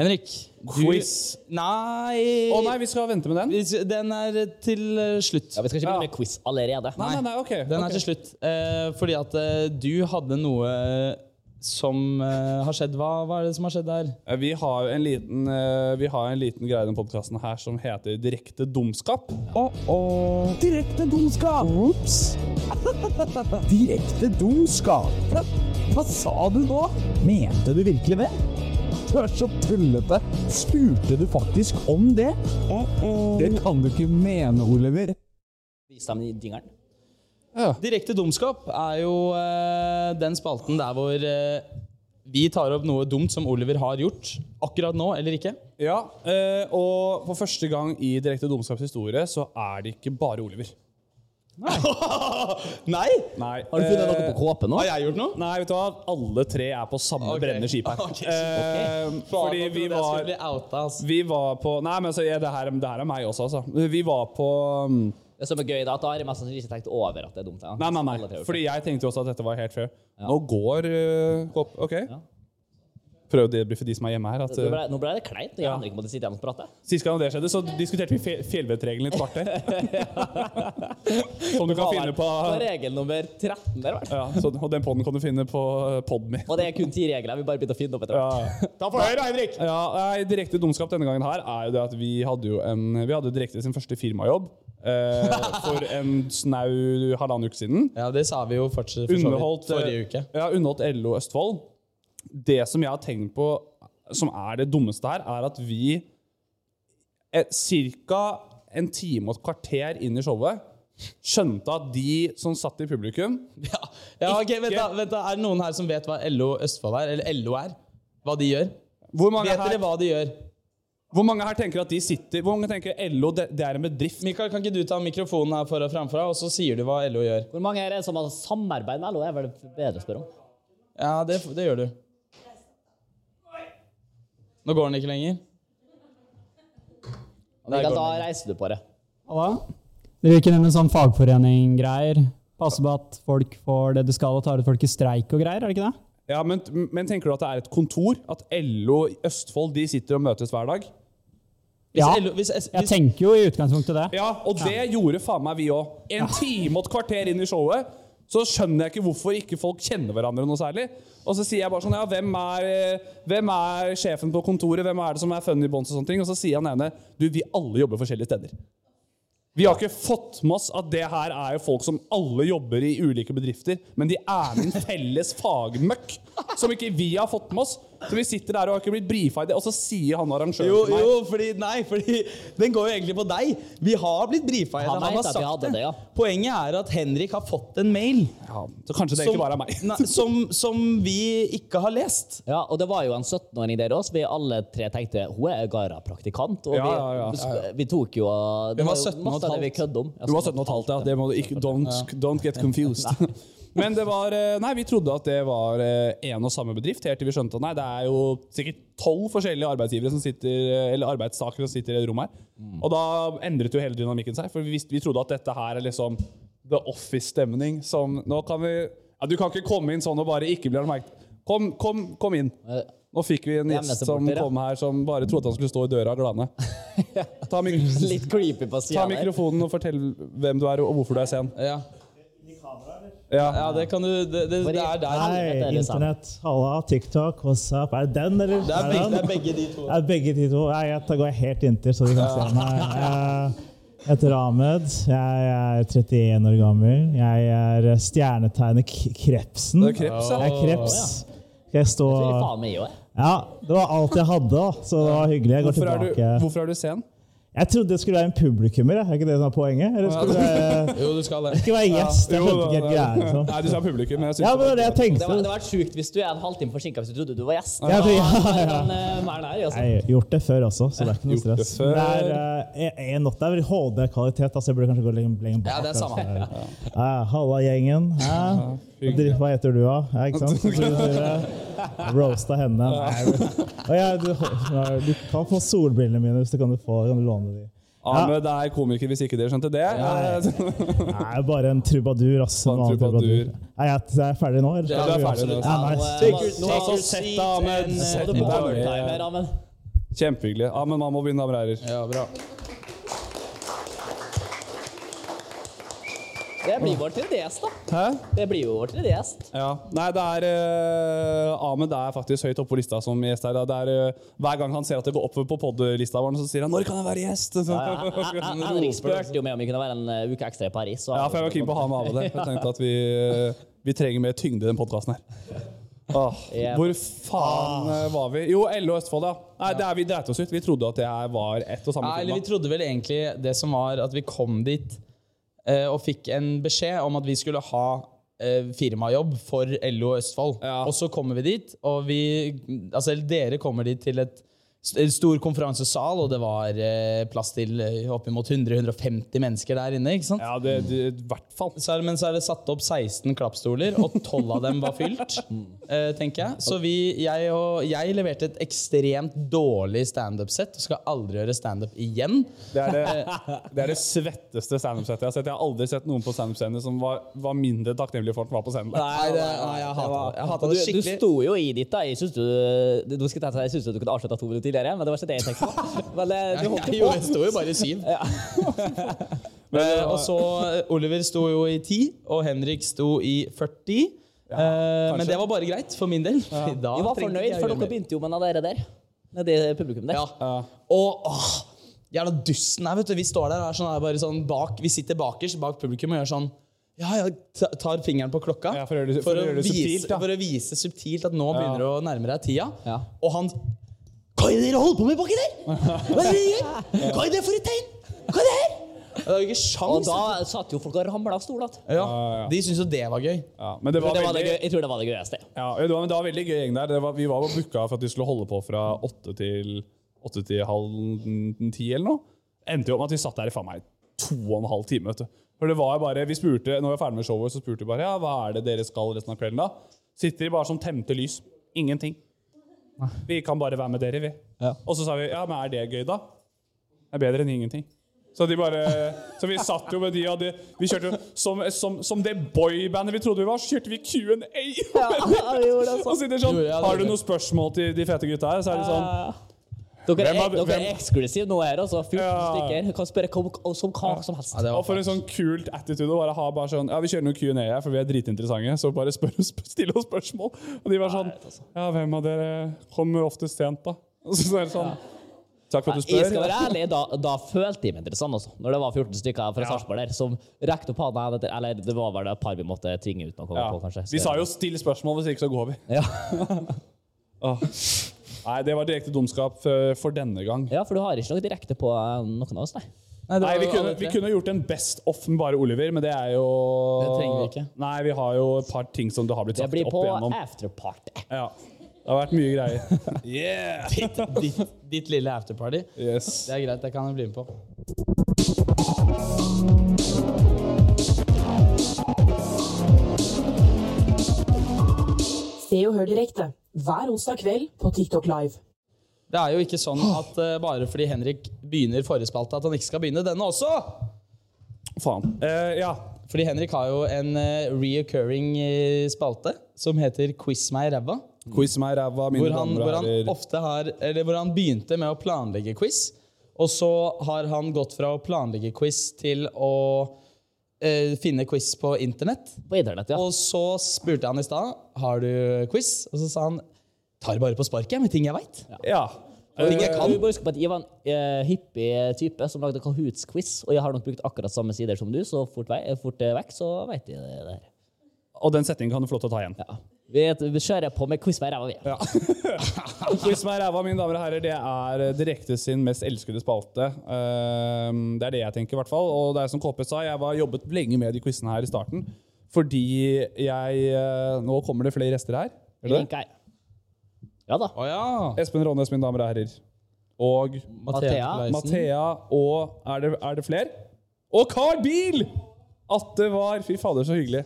Henrik, du Eh, Quiz. Nei. Å nei, vi skal vente med den? Hvis- Den er til eh, slutt. Ja, vi skal ikke begynne med quiz allerede. Nei, nei, nei, ok. Den ok. er til slutt. Eh, fordi at eh, du hadde noe som eh, har skjedd. Hva, hva er det som har skjedd der? Eh, Vi har en liten, eh, vi har en liten greie i denne podkasten her som heter Direkte dumskap. Direkte dumskap! Ops! Direkte dumskap? Hva, hva sa du nå? Mente du virkelig det? Du er så tullete. Spurte du faktisk om det? Det kan du ikke mene, Oliver. Vis dem dingeren. Direkte dumskap er jo eh, den spalten der hvor eh, vi tar opp noe dumt som Oliver har gjort akkurat nå, eller ikke. Ja, eh, og for første gang i Direkte dumskaps historie så er det ikke bare Oliver. Nei! Nei. Har du funnet Eh, noe på kåpen ah, nå? Har jeg gjort noe? Nei, vet du hva? Alle tre er på samme Ok. brennende skip her. Ok, så- Eh, fordi vi var Jeg trodde jeg skulle bli outa, altså. Vi var på Nei, men altså, ja, det, her, det her er meg også, altså. Vi var på mm, Det som er gøy, da, at da har jeg mest sannsynlig ikke tenkt over at det er dumt. Ja. Nei, nei, Alle nei. tre har gjort Fordi det. jeg tenkte jo også at dette var helt fair. Nå går eh, opp, OK? Prøv det for de som er hjemme her. At, Nå eh, ble, nå ble det kleint. Jeg aner ikke om det sitter igjen og prater. Sist gang det skjedde, så diskuterte vi fe- fjellvettregelen i et kvarter. Som du kan finne på Det var regel nummer 13 der, vel. ja, så, Og den poden kan du finne på eh, Podme. Og det er kun ti regler. Vi bare begynte å finne opp etter hvert. Ta for høyre, Henrik! Ja, nei, Direkte dumskap denne gangen her er jo det at vi hadde jo en Vi hadde direkte sin første firmajobb eh, for en snau halvannen uke siden. Ja, det sa vi jo fortsatt for så vidt underholdt, eh, eh, forrige uke. Ja, underholdt LO Østfold. Det som jeg har tenkt på som er det dummeste her, er at vi eh, cirka en time og et kvarter inn i showet skjønte at de som satt i publikum Ja, ok, vent da, vent da. Er det noen her som vet hva LO Østfold er? Eller LO er? Hva de gjør? Hvor mange vet her- dere hva de gjør? Hvor mange her tenker at de sitter Hvor mange tenker LO det, det er en bedrift? Mikael, kan ikke du ta mikrofonen her foran framfra, og så sier du hva LO gjør? Hvor mange er det som har samarbeid med LO? er vel bedre å spørre om. Ja, det, det gjør du. Nå går den ikke lenger. Der Mikael, går da den. reiser du på det. Halla. Dere gikk inn med sånn fagforening-greier. Passe på at folk får det de skal, og tar ut folk i streik og greier, er det ikke det? Ja, men, men tenker du at det er et kontor? At LO i Østfold de sitter og møtes hver dag? Hvis Ja. LO, hvis, hvis, Jeg tenker jo i utgangspunktet det. Ja, og det gjorde faen meg vi òg. En time og et kvarter inn i showet så skjønner jeg ikke hvorfor ikke folk kjenner hverandre noe særlig. Og så sier jeg bare sånn Ja, hvem er, eh, hvem er sjefen på kontoret? Hvem er det som er funny bonds og sånne ting? Og så sier han ene Du, vi alle jobber forskjellige steder. Vi har ikke fått med oss at det her er jo folk som alle jobber i ulike bedrifter, men de er med i en felles fagmøkk som ikke vi har fått med oss. Så vi sitter der og har ikke blitt brifa i det, og så sier han arrangøren Jo, til meg jo, fordi Nei, fordi den går jo egentlig på deg. Vi har blitt brifa i det. Han Han vet har at vi sagt hadde det. det, ja. Poenget er at Henrik har fått en mail ja, Så kanskje det egentlig bare er meg. nei, som, som vi ikke har lest. Ja, og det var jo en 17-åring der også. Vi alle tre tenkte hun er Gara-praktikant. Og Ja, ja, ja. vi, vi tok jo Hun Det var var jo 17 og et masse av det vi halvt. kødde om. Ja, Du var 17 og et halvt, ja. Det må du ikke, don't, don't get confused. Men det var eh, Nei, vi trodde at det var eh, en og samme bedrift, helt til vi skjønte at nei, det er jo sikkert tolv forskjellige arbeidsgivere som sitter, eh, eller arbeidstakere som sitter i det rommet her. Og da endret jo hele dynamikken seg, for vi, visste, vi trodde at dette her er liksom the office-stemning som Nå kan vi ja, Du kan ikke komme inn sånn og bare ikke bli merket. Kom, kom, kom inn. Nå fikk vi en gjest som Hjemmesupporter, ja. kom her som bare trodde han skulle stå i døra og glane. Ta mikrofonen. Litt creepy på Ta siden der. mikrofonen og fortell hvem du er og hvorfor du er sen. Ja, Ja. ja det kan du Det, det, det er der. Helvete, er Hei, det sant? internett, halla, TikTok, WhatsApp. Er det den, eller? Det er begge, det den? er begge de to. Er begge de to. Nei, jeg- da går jeg helt inntil, så du kan se meg. Jeg heter Ahmed. Jeg er 31 år gammel. Jeg er stjernetegnet K- eh, Krepsen. Det er kreps, ja. Jeg er kreps. Jeg Det er står faen meg jo, jeg. Ja, det var alt jeg hadde, da, så det var hyggelig. Jeg går Hvorfor er, du, tilbake. hvorfor er du sen? Jeg trodde det skulle være en publikummer, jeg. er ikke det som er poenget? Eller skulle det være, Jo, du skal det det. skulle være gjest? Jeg Jo, skjønte ikke da- helt greia. Liksom. Nei, du sa publikum. men Jeg synes Ja, men det var det jeg Det var- tenkte. det hadde vært sjukt hvis du er en halvtime forsinka hvis du trodde du var gjest. Ja, for- ja, Da er ja. den, eh, mer nær, altså. Jeg har gjort det før også, så det er ikke noe Gjort det stress. før. Det er, eh, en natt er vel HD-kvalitet, altså jeg burde kanskje gå lenger lenger bak. Ja, det er samme. altså. Eh, Halla, gjengen. Hæ? Dri- Hva heter du, da? Ja, ikke sant? Så sier dere, Roasta henne. Nei. Og jeg, du, du kan få solbrillene mine hvis du kan, du få, kan du låne de. Ahmed er komiker, hvis ikke dere skjønte det. Ja, Eh, Nei, bare en trubadur, ass. En Bare en vanlig trubadur. trubadur. Nei, jeg, jeg er ferdig nå, eller? Ja, du er ferdig nå. Ja, Nå, nice. eh, Take your- nå- take your sett seat deg, Ahmed. and, eh, Sett sett deg på deg overtime ned. her, Ahmed. Kjempehyggelig. Ja, men man må begynne, Ahmed Reirer. Ja, bra. Det blir vår tredje gjest, da. Hæ? Det blir jo vår tredje gjest. Ja. Nei, det er eh, Ahmed er faktisk høyt oppe på lista som gjest her. Det er, eh, hver gang han ser at det går oppover på podlista vår, så sier han 'Når kan jeg være gjest?' Så, Ja, ja. Hen- Hen- Henrik spurte jo meg om vi kunne være en eh, uke ekstra i Paris. så- Ja, for jeg var keen på å ha med Ahmed der. Jeg tenkte at vi, eh, vi trenger mer tyngde i den podkasten her. Åh, Ja. ah, Hvor faen eh, var vi? Jo, LO Østfold, ja. Nei, det er Vi dreit oss ut. Vi trodde at det her var ett og samme Nei, eller vi firma. trodde vel egentlig det som var at vi kom dit eh, og fikk en beskjed om at vi skulle ha eh, firmajobb for LO Østfold. Ja. Og så kommer vi dit, og vi Altså, eller dere kommer dit til et s- en stor konferansesal, og det var eh, plass til eh, oppimot 100-150 mennesker der inne. ikke sant? Ja, det, det, i hvert fall. Så er, men så er det satt opp 16 klappstoler, og 12 av dem var fylt. eh, tenker jeg. Så vi, jeg, og, jeg leverte et ekstremt dårlig standup-sett. og Skal aldri gjøre standup igjen. Det er det, det er det svetteste standup-settet jeg har sett. Jeg har aldri sett noen på standup-scenen som var, var mindre takknemlig for at den var på scenen. Nei, det, nei jeg hata det. Jeg hatet Du, det du skikkelig. sto jo i ditt, da. Jeg syns du, du, du, skal ta- jeg synes du kunne avslutta to minutter tidligere, men det var ikke det jeg tenkte på. Men eh, du holdt jo Jeg, jo, jeg sto jo bare i syv. Eh, og så eh, Oliver sto jo i ti, og Henrik sto i 40. Eh, men det var bare greit for min del. Ja. Da Jeg var trengte fornøyd, ikke jeg for gjøre dere mer. begynte jo med den der der. Med det publikum der. Ja. Og åh, jævla dusten her, vet du. Vi står der og er sånn, er bare sånn bak, vi sitter bakerst bak publikum og gjør sånn ja, ja, ta- tar fingeren på klokka Ja, for å gjøre det- for å gjøre det vise, subtilt, da. for å vise subtilt at nå begynner du å nærme deg tida. Ja. Og han Hva er det dere holder på med baki der?! Hva er det dere gjør?! Hva er det for et tegn?! Hva er det her?! Det var jo ikke Og sjans. da satt jo folk og ramla av stoler. at- ja, De syntes jo det var gøy. Ja, men det var, Det var det veldig, gøy- jeg tror det var det gøyeste. ja, det var, men det var veldig gøy gjeng der. Det var, vi var jo booka for at vi skulle holde på fra åtte til, åtte til halv n- ti eller noe. Endte jo opp med at vi satt der i faen meg to og en halv time. vet du. For det var jo bare, vi spurte, Når vi var ferdig med showet, så spurte vi bare ja, hva er det dere skal resten av kvelden. da? Sitter de bare som temte lys. Ingenting. Vi kan bare være med dere, vi. Og så sa vi ja, men er det gøy, da? Det er bedre enn ingenting. Så, de bare, så vi satt jo med de og de, vi kjørte jo, som, som, som det boybandet vi trodde vi var, så kjørte vi Q&A! og sitter sånn, Gjorde jeg det? Har du noen spørsmål til de fete gutta her? Så er det sånn Dere er, Hvem har- dere er hvem- eksklusive nå her, altså. 14 Ja. stykker. Kan spørre hva, hva som, hva som helst. Og for en sånn kult attitude å bare ha bare sånn Ja, vi kjører noen Q&A her, for vi er dritinteressante, så bare spør, sp- still oss spørsmål. Og de var sånn Ja, hvem av dere kommer oftest sent, da? Og så er det sånn Takk for at du spør. Jeg skal være ærlig, da, da følte jeg meg interessant, altså. Når det var 14 stykker fra Sarpsborg der som rekte opp hånda etter Eller det var vel et par vi måtte tvinge ut noe Ja. på, kanskje. Vi sa jo 'still spørsmål', hvis ikke så går vi. Åh. Nei, det var direkte dumskap eh, for denne gang. Ja, for du har ikke noe direkte på eh, noen av oss, nei. Nei, det var vi, jo kunne, alle tre. vi kunne gjort en best off med bare Oliver, men det er jo Det trenger vi ikke. Nei, vi har jo et par ting som det har blitt Det sagt blir opp på igjennom. afterparty. Ja. Det har vært mye greier. Yeah! Ditt, ditt, ditt lille afterparty. Yes. Det er greit, det kan jeg bli med på. Se og hør direkte hver onsdag kveld på TikTok Live. Det er jo ikke sånn at eh, bare fordi Henrik begynner forrige spalte, at han ikke skal begynne denne også! Faen. Eh, ja. Fordi Henrik har jo en eh, reoccurring eh, spalte som heter Quiz meg i ræva. Quiz meg i ræva, mine Hvor han, damer og hvor, han herrer. ofte har, eller hvor han begynte med å planlegge quiz, og så har han gått fra å planlegge quiz til å eh, finne quiz på internett. På internett, ja. Og så spurte jeg han i stad har du quiz, og så sa han tar det bare på sparket jeg, med ting jeg veit. Ja. Ting jeg kan. Du må huske på at jeg var en eh, hippie type som lagde Kahoots-quiz, og jeg har nok brukt akkurat samme sider som du, så fort, vei, fort eh, vekk så veit jeg det der. Og den setningen kan du få lov til å ta igjen. Vi, vi kjører på med quiz med ræva, vi. Quiz meg i ræva, mine damer og herrer, det er eh, direkte sin mest elskede spalte. Ehm, det er det jeg tenker, i hvert fall. Og det er som KP sa, jeg var jobbet lenge med de quizene her i starten. Fordi jeg eh, Nå kommer det flere rester her. Gjør det det? Link her. Ja da. Å ja. Espen Rånes, mine damer og herrer. Og Mathea. Mathea. Mathea og Er det, er det flere? Og Carl Biel! At det var Fy fader, så hyggelig.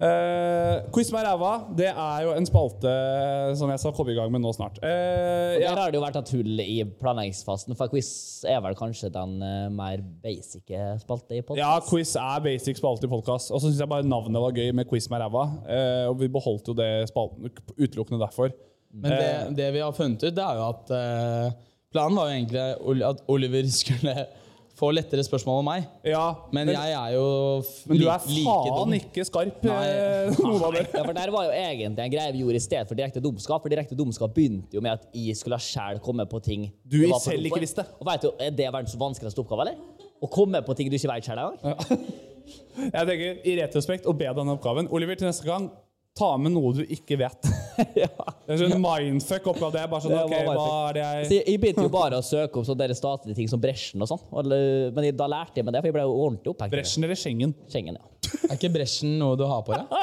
Eh, Quiz med ræva det er jo en spalte eh, som jeg skal komme i gang med nå snart. Eh, Og ja. Der har det jo vært et hull i planleggingsfasen, for quiz er vel kanskje den eh, mer basic spalte i podden. Ja, quiz er basic spalte i podkast. Og så syns jeg bare navnet var gøy med quiz med ræva. Eh, og vi beholdt jo det spalten utelukkende derfor. Men det, det vi har funnet ut, det er jo at eh, planen var jo egentlig Ol- at Oliver skulle få lettere spørsmål om meg. Ja, Men, jeg er jo f- men du li- er like faen dum. ikke skarp, Nei. eh, noen av dere. Ja, for Der var jo egentlig en greie vi gjorde i stedet for direkte dumskap. For direkte dumskap begynte jo med at jeg skulle selv komme på ting Du jeg var for selv dum ikke for. visste. Og vet du, Er det verdens vanskeligste oppgave, eller? Å komme på ting du ikke vet selv engang? Jeg tenker, I retrospekt, å be deg denne oppgaven. Oliver, til neste gang, ta med noe du ikke vet. Det er sånn mindfuck oppgave. Det er bare sånn, Det var ok, hva er det Så jeg... jeg, jeg begynte jo bare å søke om sånne der statlige ting som Bresjen og sånn. Og det- Men jeg, da lærte jeg meg det, for jeg ble jo ordentlig opphengt. i det. Bresjen eller Schengen? Schengen, ja. Er ikke bresjen noe du har på deg?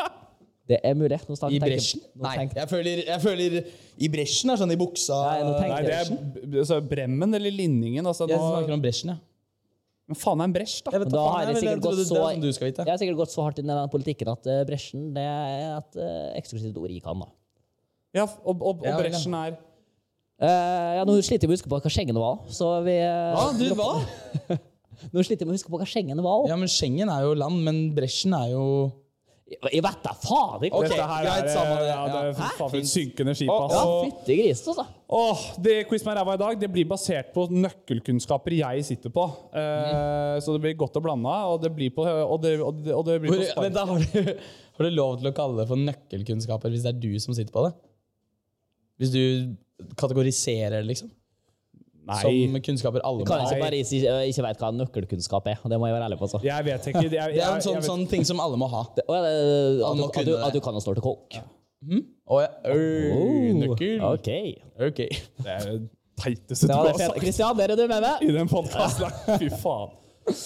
Det er mulig. Nå snart I tenker- bresjen? nå Nei, tenker- jeg føler, jeg føler I bresjen er sånn i buksa Nei, nå tenker Nei, det er b- altså, Bremmen eller Linningen. Altså, Jeg nå, snakker om bresjen, ja. men faen er en bresj, da? Men da faen, har jeg jeg ville sikkert trodd gått det så, er som du skal vite. jeg har sikkert gått så hardt inn i den politikken at eh, bresjen det er et eh, eksklusivt ord jeg kan, da. Ja, og, og, og Ja, vel, ja. bresjen er... Eh, ja, nå sliter jeg med å huske på hva Schengen var. Så vi, eh, Hva? Du, hva? Nå sliter jeg med å huske på hva Schengen var. Ja, men Schengen er jo land, men bresjen er jo Jeg- Jeg vet da faen ikke! Ok, Dette her greit, er, samme det. Ja, det Ja. er for Hæ? faen for et Fins. synkende skip, Å, altså. ja, Fytti gris, altså. Åh, det quiz med ræva i dag det blir basert på nøkkelkunnskaper jeg sitter på. Eh, Mm. Så det blir godt og blanda, og det blir på, og det, og det, og det blir Hvor, på spark. vent da, har du, har du lov til å kalle det for nøkkelkunnskaper hvis det er du som sitter på det? Hvis du kategoriserer det, liksom? Som kunnskaper alle må Kan jeg ha. ikke bare si eh, ikke vet hva nøkkelkunnskap er. og Det må jeg være ærlig på. Altså. Jeg vet ikke. Jeg, jeg, Det er jeg en sånn, vet- sånn ting som alle må ha. Og, eh, Alle at, du, må kunne at, du, det. at du kan å stå til kokk. Oh, Å ja. Øy, Nøkkel. OK. Ok. det er teiteste Det var det fete. Christian, der er du med meg. i den podkasten. Fy faen.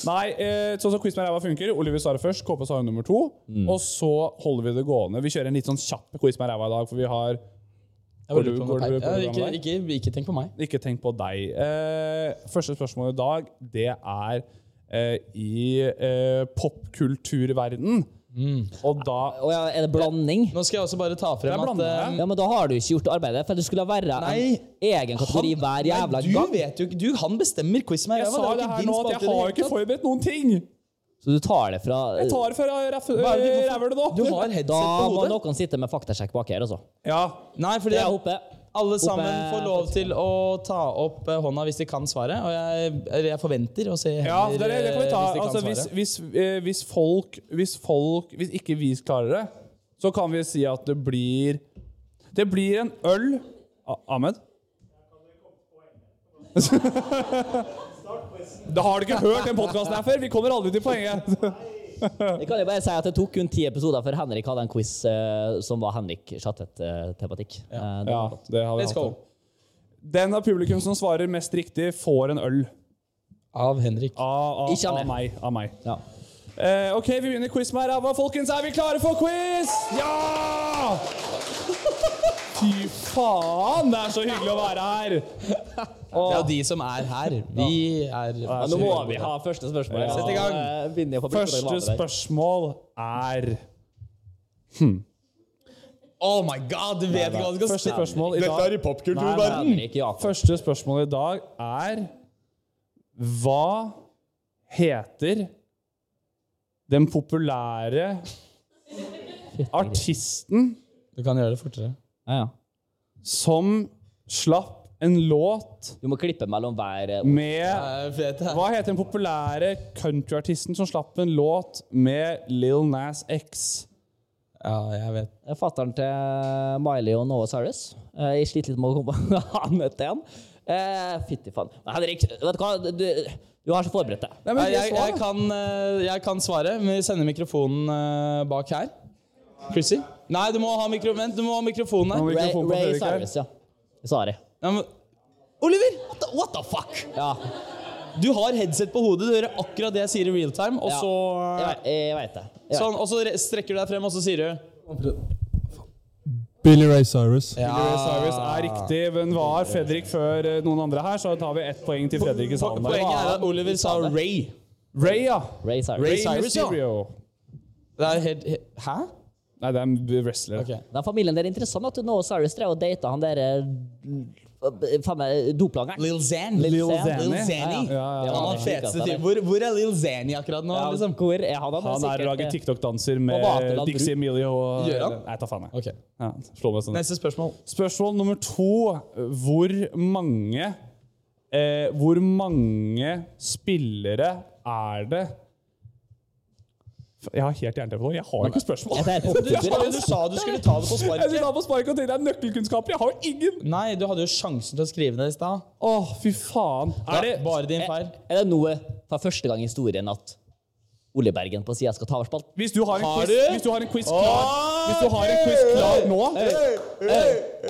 Nei, eh, sånn som Quiz med ræva funker. Oliver svarer først, KP svarer nummer to. Mm. Og så holder vi det gående. Vi kjører en litt sånn kjapp quiz med ræva i dag, for vi har Jeg bare lurer på om det er Går du- går du- går teit. du Ja, gammel ikke, der? ikke, ikke tenk på meg. Ikke tenk på deg. Eh, første spørsmål i dag, det er eh, i eh, popkulturverden. Mm. Og da er det blanding? Nå skal jeg også bare ta frem at eh, ja, men da har du ikke gjort arbeidet, for det skulle være Nei. en egen kategori hver jævla nei, du gang. vet jo ikke du, Han bestemmer quiz med Jeg ræva. sa er jo det ikke her din nå at spalte i jeg det har hele jo ikke tatt. forberedt noen ting! Så du tar det fra Jeg tar fra ræv- Hva er det du- rævhølet nå. Du har headset Da på må hodet. noen sitte med faktasjekk bak her, altså. Ja. Nei, Det fordi er jeg- oppe. alle Oppe- sammen får lov til å ta opp eh, hånda hvis de kan svaret. Og jeg, eller jeg forventer å se Ja, det, det, det kan vi ta. eh, Altså, hvis hvis, de kan svare. hvis, eh, hvis folk Hvis folk Hvis ikke vi klarer det, så kan vi si at det blir Det blir en øl A Ahmed? da har du ikke hørt den podkasten her før! Vi kommer aldri til poenget. Jeg kan jo bare si at det tok kun ti episoder før Henrik hadde en quiz eh, som var Henrik Chattet-tematikk. Eh, det Ja, var godt. det har vi Let's hatt. go. Den av publikum som svarer mest riktig, får en øl. Av Henrik. Av, av, Ikke av av meg. Av meg. Ja. Eh, ok, vi begynner quiz med ræva, folkens. Er vi klare for quiz? Ja! Fy faen, det er så hyggelig å være her! Det er jo de som er her. Vi er Men nå må vi ha første spørsmål. Sett i gang. Ja, eh, vinner jo på første Første spørsmål. spørsmål er Oh my god, du vet ikke hva du skal Første si! spørsmål i dag, i popkulturverden! Henrik Jakob. første spørsmål i dag er Hva heter den populære artisten Du kan gjøre det fortere. Ja, ja. som slapp en låt Du må klippe mellom hver eh, med Jeg vet det. Hva heter den populære countryartisten som slapp en låt med Lil Nas X? Ja, jeg vet. Fatteren eh, til eh, Miley og Noah Cyrus. Eh, Jeg sliter litt med å komme på hva han het igjen. Eh, Fytti faen. Nei, Henrik, vet du hva? Du, du har ikke forberedt deg. Nei, jeg, jeg, kan, eh, jeg kan svare, men vi sender mikrofonen eh, bak her. Chrissy? Nei, du må ha, mikro vent, du må ha mikrofonen Nå må her. Ray, mikrofonen på Ray Fredrik her. Cyrus, ja. Sorry. Ja, men, Oliver! What the, what the fuck? Ja, Du har headset på hodet, du hører akkurat det jeg sier i real time, og Ja. så jeg, vet- jeg veit det. Jeg vet. Sånn, og så re- strekker du deg frem, og så sier du Billy Ray Cyrus. Billy Ray Cyrus Ah. er riktig, men var Fredrik før eh, noen andre her, så tar vi ett poeng til Fredrik i po salen. Poenget er der. at Oliver sa Ray. Ray, ja. Ray Cyrus. Ray Ray Cyrus, Mysterio. Det er helt, he- Hæ? Nei, det er en wrestler. Ok. Den familien der er interessant at du nå Cyrus drev og data han der eh, faen meg doplangeren. Lil Zan. Lil Zanny. Lil Zanny. Ja, ja, ja. Han har feteste tid. Hvor, hvor er Lil Zanny akkurat nå? Ja, liksom? Hvor er han? Han, Han er og eh, lager Og TikTok-danser med Vaterland Dixie Bru. Emilie og Gjør han? Nei, ta faen, jeg. Ok. Ja, slå meg sånn. Neste spørsmål. Spørsmål nummer to. Hvor mange eh, Hvor mange spillere er det Jeg har helt jernteppe nå. Jeg har jo ikke spørsmål. Jeg tar helt Jeg på Du sa, du sa du skulle ta det på sparket. skulle ta på sparket og tenke deg nøkkelkunnskaper. Jeg har jo ingen! Nei, du hadde jo sjansen til å skrive det i stad. Å, fy faen. Er det Bare din feil. Eh, Er det noe for første gang i historien at Ole Bergen på sida skal ta over spalten? Hvis du har en Har quiz, du? hvis du har en quiz klar, hvis du har en quiz klar nå Har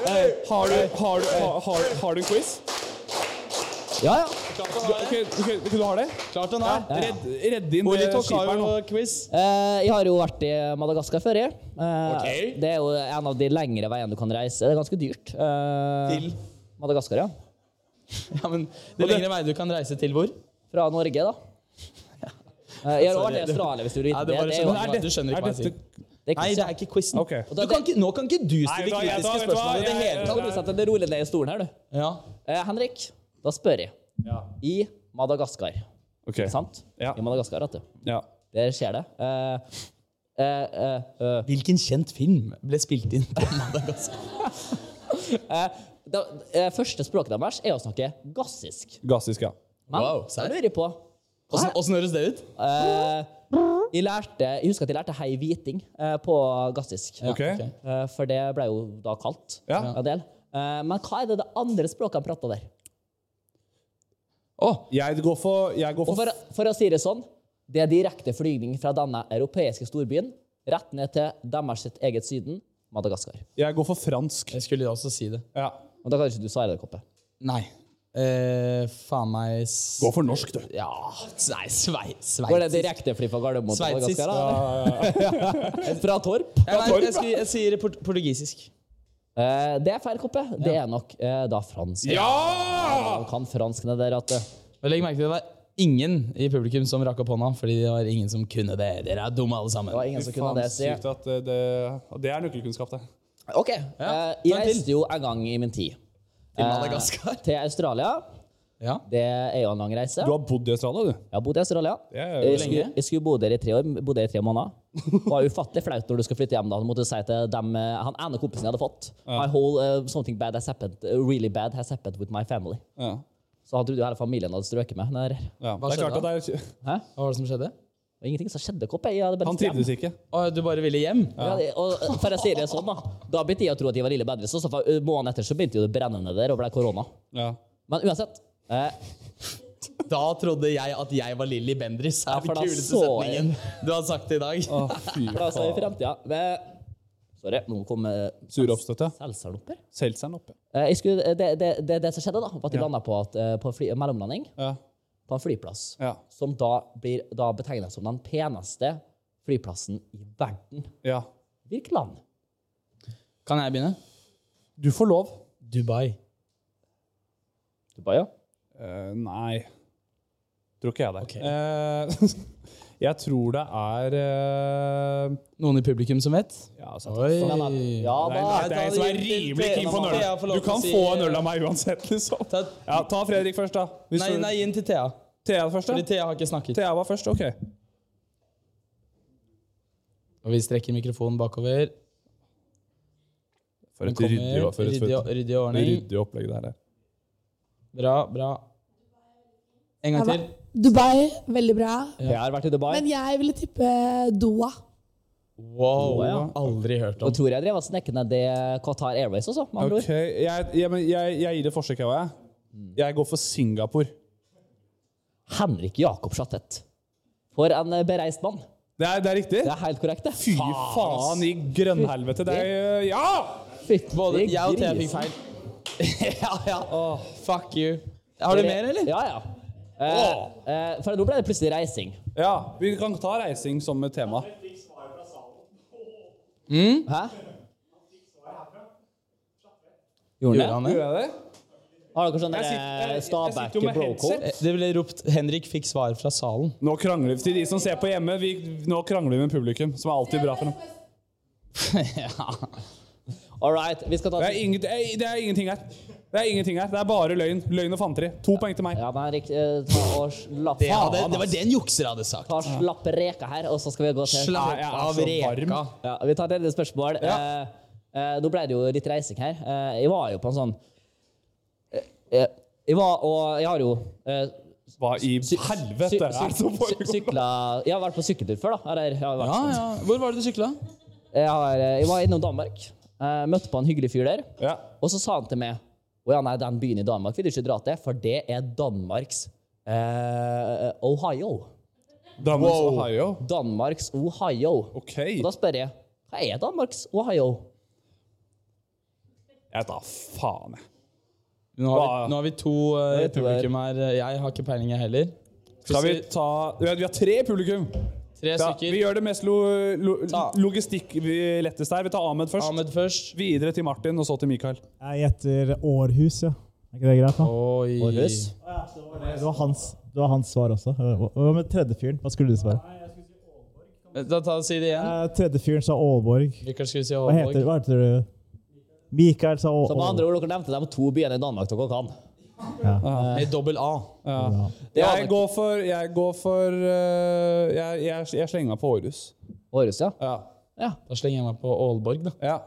du, har du, har, har, har du en quiz? Ja, ja. Du, ok, ok, ok, du har det? Klart han er. Redd, redd inn det Olitok har skipet her nå. jo quiz. Eh, jeg har jo vært i Madagaskar før, jeg. Eh, Ok. Det er jo en av de lengre veiene du kan reise. Det er ganske dyrt. Eh, Til? Madagaskar, ja. Ja, men Det er lengre vei du kan reise til hvor? Fra Norge, da. Eh, jeg har jo vært i Sorry, det- Australia, hvis du vil Ja, vite det det. var Det det er jo som- Er dette- Du skjønner ikke er hva jeg dette- det er Nei, quiz, det ja. er ikke quizen. Ok. Du kan ikke, nå kan ikke du Nei, stille vet du hva, jeg- kritiske da- vet du hva, spørsmål i det jeg- hele Da tatt. kan du sette deg rolig ned i stolen her, du. Ja. Eh, Henrik, da spør jeg. I Madagaskar, Ok. sant? Ja. I Madagaskar, vet du. Ja. Der skjer det. Eh, eh, eh, eh, Hvilken kjent film ble spilt inn på Madagaskar? da, eh, første språket deres er å snakke gassisk. Gassisk, ja. Men Wow, da serr? lurer jeg på Åssen åssen høres det ut? eh, jeg, lærte, jeg husker at jeg lærte hei hviting eh, på gassisk. Ok. Eh, for det ble jo da kalt Ja. en del. Eh, men hva er det det andre språket han prater der? Jeg går for, jeg går Og for for, for å si det sånn, det er direkte flygning fra denne europeiske storbyen rett ned til deres sitt eget syden, Madagaskar. Jeg går for fransk. Jeg skulle også si det. Ja. Og da kan ikke du svare det, Koppe. Nei. eh, faen meg s- Gå for norsk, du. Ja Nei, svei, sveitsisk. Går det direktefly fra Gardermoen til Sveitsisk. Madagaskar? da? Fra Torp? Jeg, vet, jeg, skulle- jeg sier port portugisisk. Eh, det er feil, Koppe. Det er nok eh, da fransk. Ja! Han kan franskene der, at Og Legg merke til det var ingen i publikum som rakk opp hånda, fordi det var ingen som kunne det. Dere er dumme, alle sammen. Det var ingen som kunne det, sier Sykt at eh, det, det er nøkkelkunnskap, det. Ok. eh, jeg reiste jo en gang i min tid. Til Eh, Madagaskar? til Australia. Det er jo en lang reise. Du har bodd i Australia, du? Jeg har bodd i Australia. er jo Jeg skulle, lenge. jeg skulle bo der i tre år. Bo der i tre måneder. Det var ufattelig flaut når du skal flytte hjem. da. Du måtte si til dem, eh, Han ene kompisen jeg hadde fått Ja. I whole, eh, something bad has happened, eh, really bad has happened with my family. Ja. Så han trodde jo hele familien hadde strøket med. Når, Ja, Hva det er skjedde klart da? at Hæ? Hva var det som skjedde? Det var ingenting som skjedde, Kopp. Jeg hadde bare Han lyst til hjem. trivdes ikke. Å, du bare ville hjem? Ja. det- og for å si det sånn, da. Da begynte jeg å tro at de var lille bedre. Så, så for, uh, måneden etter så begynte jo det brennende der og ble korona. Ja. Men uansett. Eh, Da trodde jeg at jeg var Lilly Bendriss. Det Ja, er for den da kuleste så jeg- setningen du har sagt i dag. da sa jeg i fremtida ved Sorry, nå kom eh, Sure oppstøtte. Seltzeren opp her. Seltzeren oppe. Eh, jeg skulle, eh, det, det, det, det som skjedde, da, var at de landa på, at, eh, på fly, mellomlanding Ja. på en flyplass. Ja. Som da blir da betegna som den peneste flyplassen i verden. Ja. Hvilket land? Kan jeg begynne? Du får lov. Dubai. Dubai, ja. Eh, nei. Tror ikke jeg det. Eh, jeg tror det er eh, Noen i publikum som vet? Ja, altså, Oi. faen. Ja, Nei, da, nei, det er en som er rimelig keen på en øl. Jeg får lov Du kan til å få si- eh, en øl av meg uansett, liksom. Ta, Ja, ta Fredrik først, da. Hvis nei, du- nei, inn til Thea. Thea først, Fordi da. Thea har ikke snakket. Thea var først, OK. Og vi strekker mikrofonen bakover. For et Den kommer. ryddig, for et Ryddig- fett- ryddig ordning. ryddig opplegg det her er. Bra, bra. En gang Ja, til. Dubai, veldig bra. Jeg har vært i Dubai. Men jeg ville tippe Doha. Wow, ja. aldri hørt Og om. tror jeg drev og snekket ned det Qatar Airways også, med andre ord. Ok, jeg, jeg, men jeg, jeg gir det forsøk, jeg òg. Mm. Jeg går for Singapore. Henrik Jakob Schattet. For en eh, bereist mann. Det er, det er riktig? Det er helt korrekt, det. Fy faen i grønnhelvete. Det er eh, Ja! Fytti Både jeg og Thea grisen. fikk feil. ja, ja. fuck you. Har du mer, eller? Ja, ja. Eh, eh, for nå ble det plutselig reising. ja vi kan ta reising som et tema. Hæ? Gjorde det? han Gjør det? jeg det? Har dere sånn Jeg sitter- jeg- jeg sitter jo Stabæk med brocode? headset. Eh, Det ble ropt 'Henrik fikk svar fra salen'. Nå krangler vi til de som ser på hjemme. Vi, nå krangler vi med publikum, som er alltid bra for dem. All right, vi skal ta Det er, ingen, det er- det er ingenting her. Det er ingenting her. Det er bare løgn. Løgn og fanteri. To poeng til meg. Ja, men Henrik, eh, ta og slapp Det, av. hadde, det var det en jukser hadde sagt. Ta og slapp reka her, og så skal vi gå til Slapp jeg er av så reka. varm. Ja, vi tar tredje spørsmål. Eh, eh, nå ble det jo litt reising her. Eh, jeg var jo på en sånn eh, eh, Jeg var og Jeg har jo eh, Hva i sy- sy- helvete er det som sy- sy- foregår? sykla Jeg har vært på sykkeltur før, da. Eller, jeg, har vært, sånn. Ja, ja. Hvor var det du sykla? Jeg, har, jeg var innom Danmark. Eh, møtte på en hyggelig fyr der. Ja. Og så sa han til meg Å ja, nei, den byen i Danmark vil du ikke dra til, for det er Danmarks eh, Ohio. Danmarks Ohio. Danmarks Ohio. OK. Og da spør jeg hva er Danmarks Ohio? Jeg tar faen, jeg. Nå har vi, Hva? nå har vi to eh, Jeg tror jeg- publikum her. Jeg har ikke peiling, jeg heller. Skal vi ta Vi har, vi har tre publikum. Tre Ja, stykker. vi gjør det mest lo, lo, Ta. logistikk vi- lettest her. Vi tar Ahmed først. Ahmed først. Videre til Martin, og så til Mikael. Jeg gjetter Århus, ja. Er ikke det greit, da? Oi. Århus. Det var hans, det var hans svar også. Hva hva med tredje fyren? Hva skulle du svare? Da ta, Si det igjen. Eh, Tredje fyren sa Aalborg. Rikard skulle si Hva heter, Aalborg. hva heter du? Mikael sa Så med andre Aalborg. ord, dere nevnte de to byene i Danmark dere kan. Med dobbel A. Det er Jeg går for Jeg, går for, øh, jeg, jeg, jeg slenger meg på Århus. Århus, ja. Ja. ja. Da slenger jeg meg på Aalborg, da. ja.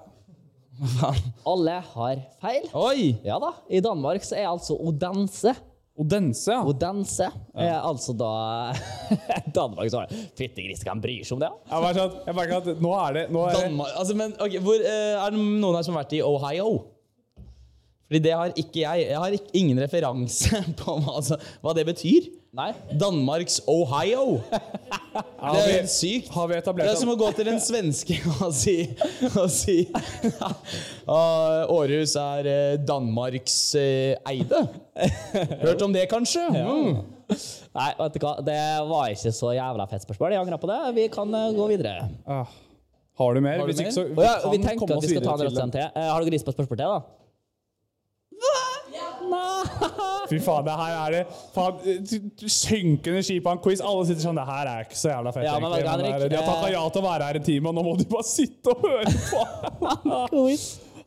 Alle har feil. Oi! Ja da. I Danmark så er altså Odense Odense, ja. Odense er altså da Danmark så har Fytti grisen, hvem bryr seg om det? da? Jeg merker at, jeg merker at nå er det, nå er det Danmark altså, men, ok, hvor, eh, Er det noen her som har vært i Ohio? Fordi det har ikke jeg. Jeg har ikk- ingen referanse på hva, altså, hva det betyr. Nei? Danmarks Ohio. Det er jo helt sykt. det er som å gå til en svenske og si, og si «Ah, Århus er eh, Danmarks eh, eide. Hørt om det, kanskje? Mm. Nei, vet du hva? det var ikke så jævla fett spørsmål. Jeg angrer på det. Vi kan eh, gå videre. Har du Har mer? du Hvis mer? ikke, så Å ja, kan vi tenker komme at oss vi skal videre ta en til rødt den. til. Eh, har dere lyst på et spørsmål til, da? Fy faen, det her er det faen, t- t- Synkende skip av en quiz. Alle sitter sånn Det her er ikke så jævla fett. Ja, men egentlig, Henrik, det er- de har takka ja til å være her en time, og nå må de bare sitte og høre på! Quiz.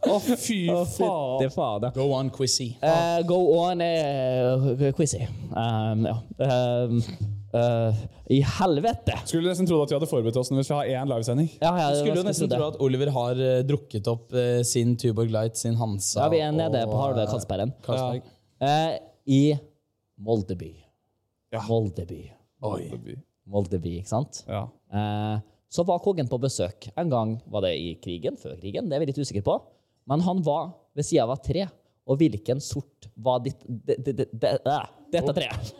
Å, fy faen. Fytti fader. Go on, quizzy. Eh, go on eh, quizy. Um, ja. Um, eh, I helvete! Skulle nesten trodd at vi hadde forberedt oss hvis vi har én livesending. ja, Du det skulle var jo nesten skulle tro det. at Oliver har eh, drukket opp eh, sin Tuborg Light, sin Hansa Ja, vi er nede og, på halve eh, Karlsbergen. Karlsberg. Eh, I Moldeby. Moldeby. Oi. Moldeby, ikke sant? Eh, så var kongen på besøk. En gang var det i krigen, før krigen, det er vi litt usikre på. Men han var ved sida av et tre. Og hvilken sort var ditt det- det- det- det- det- Dette treet.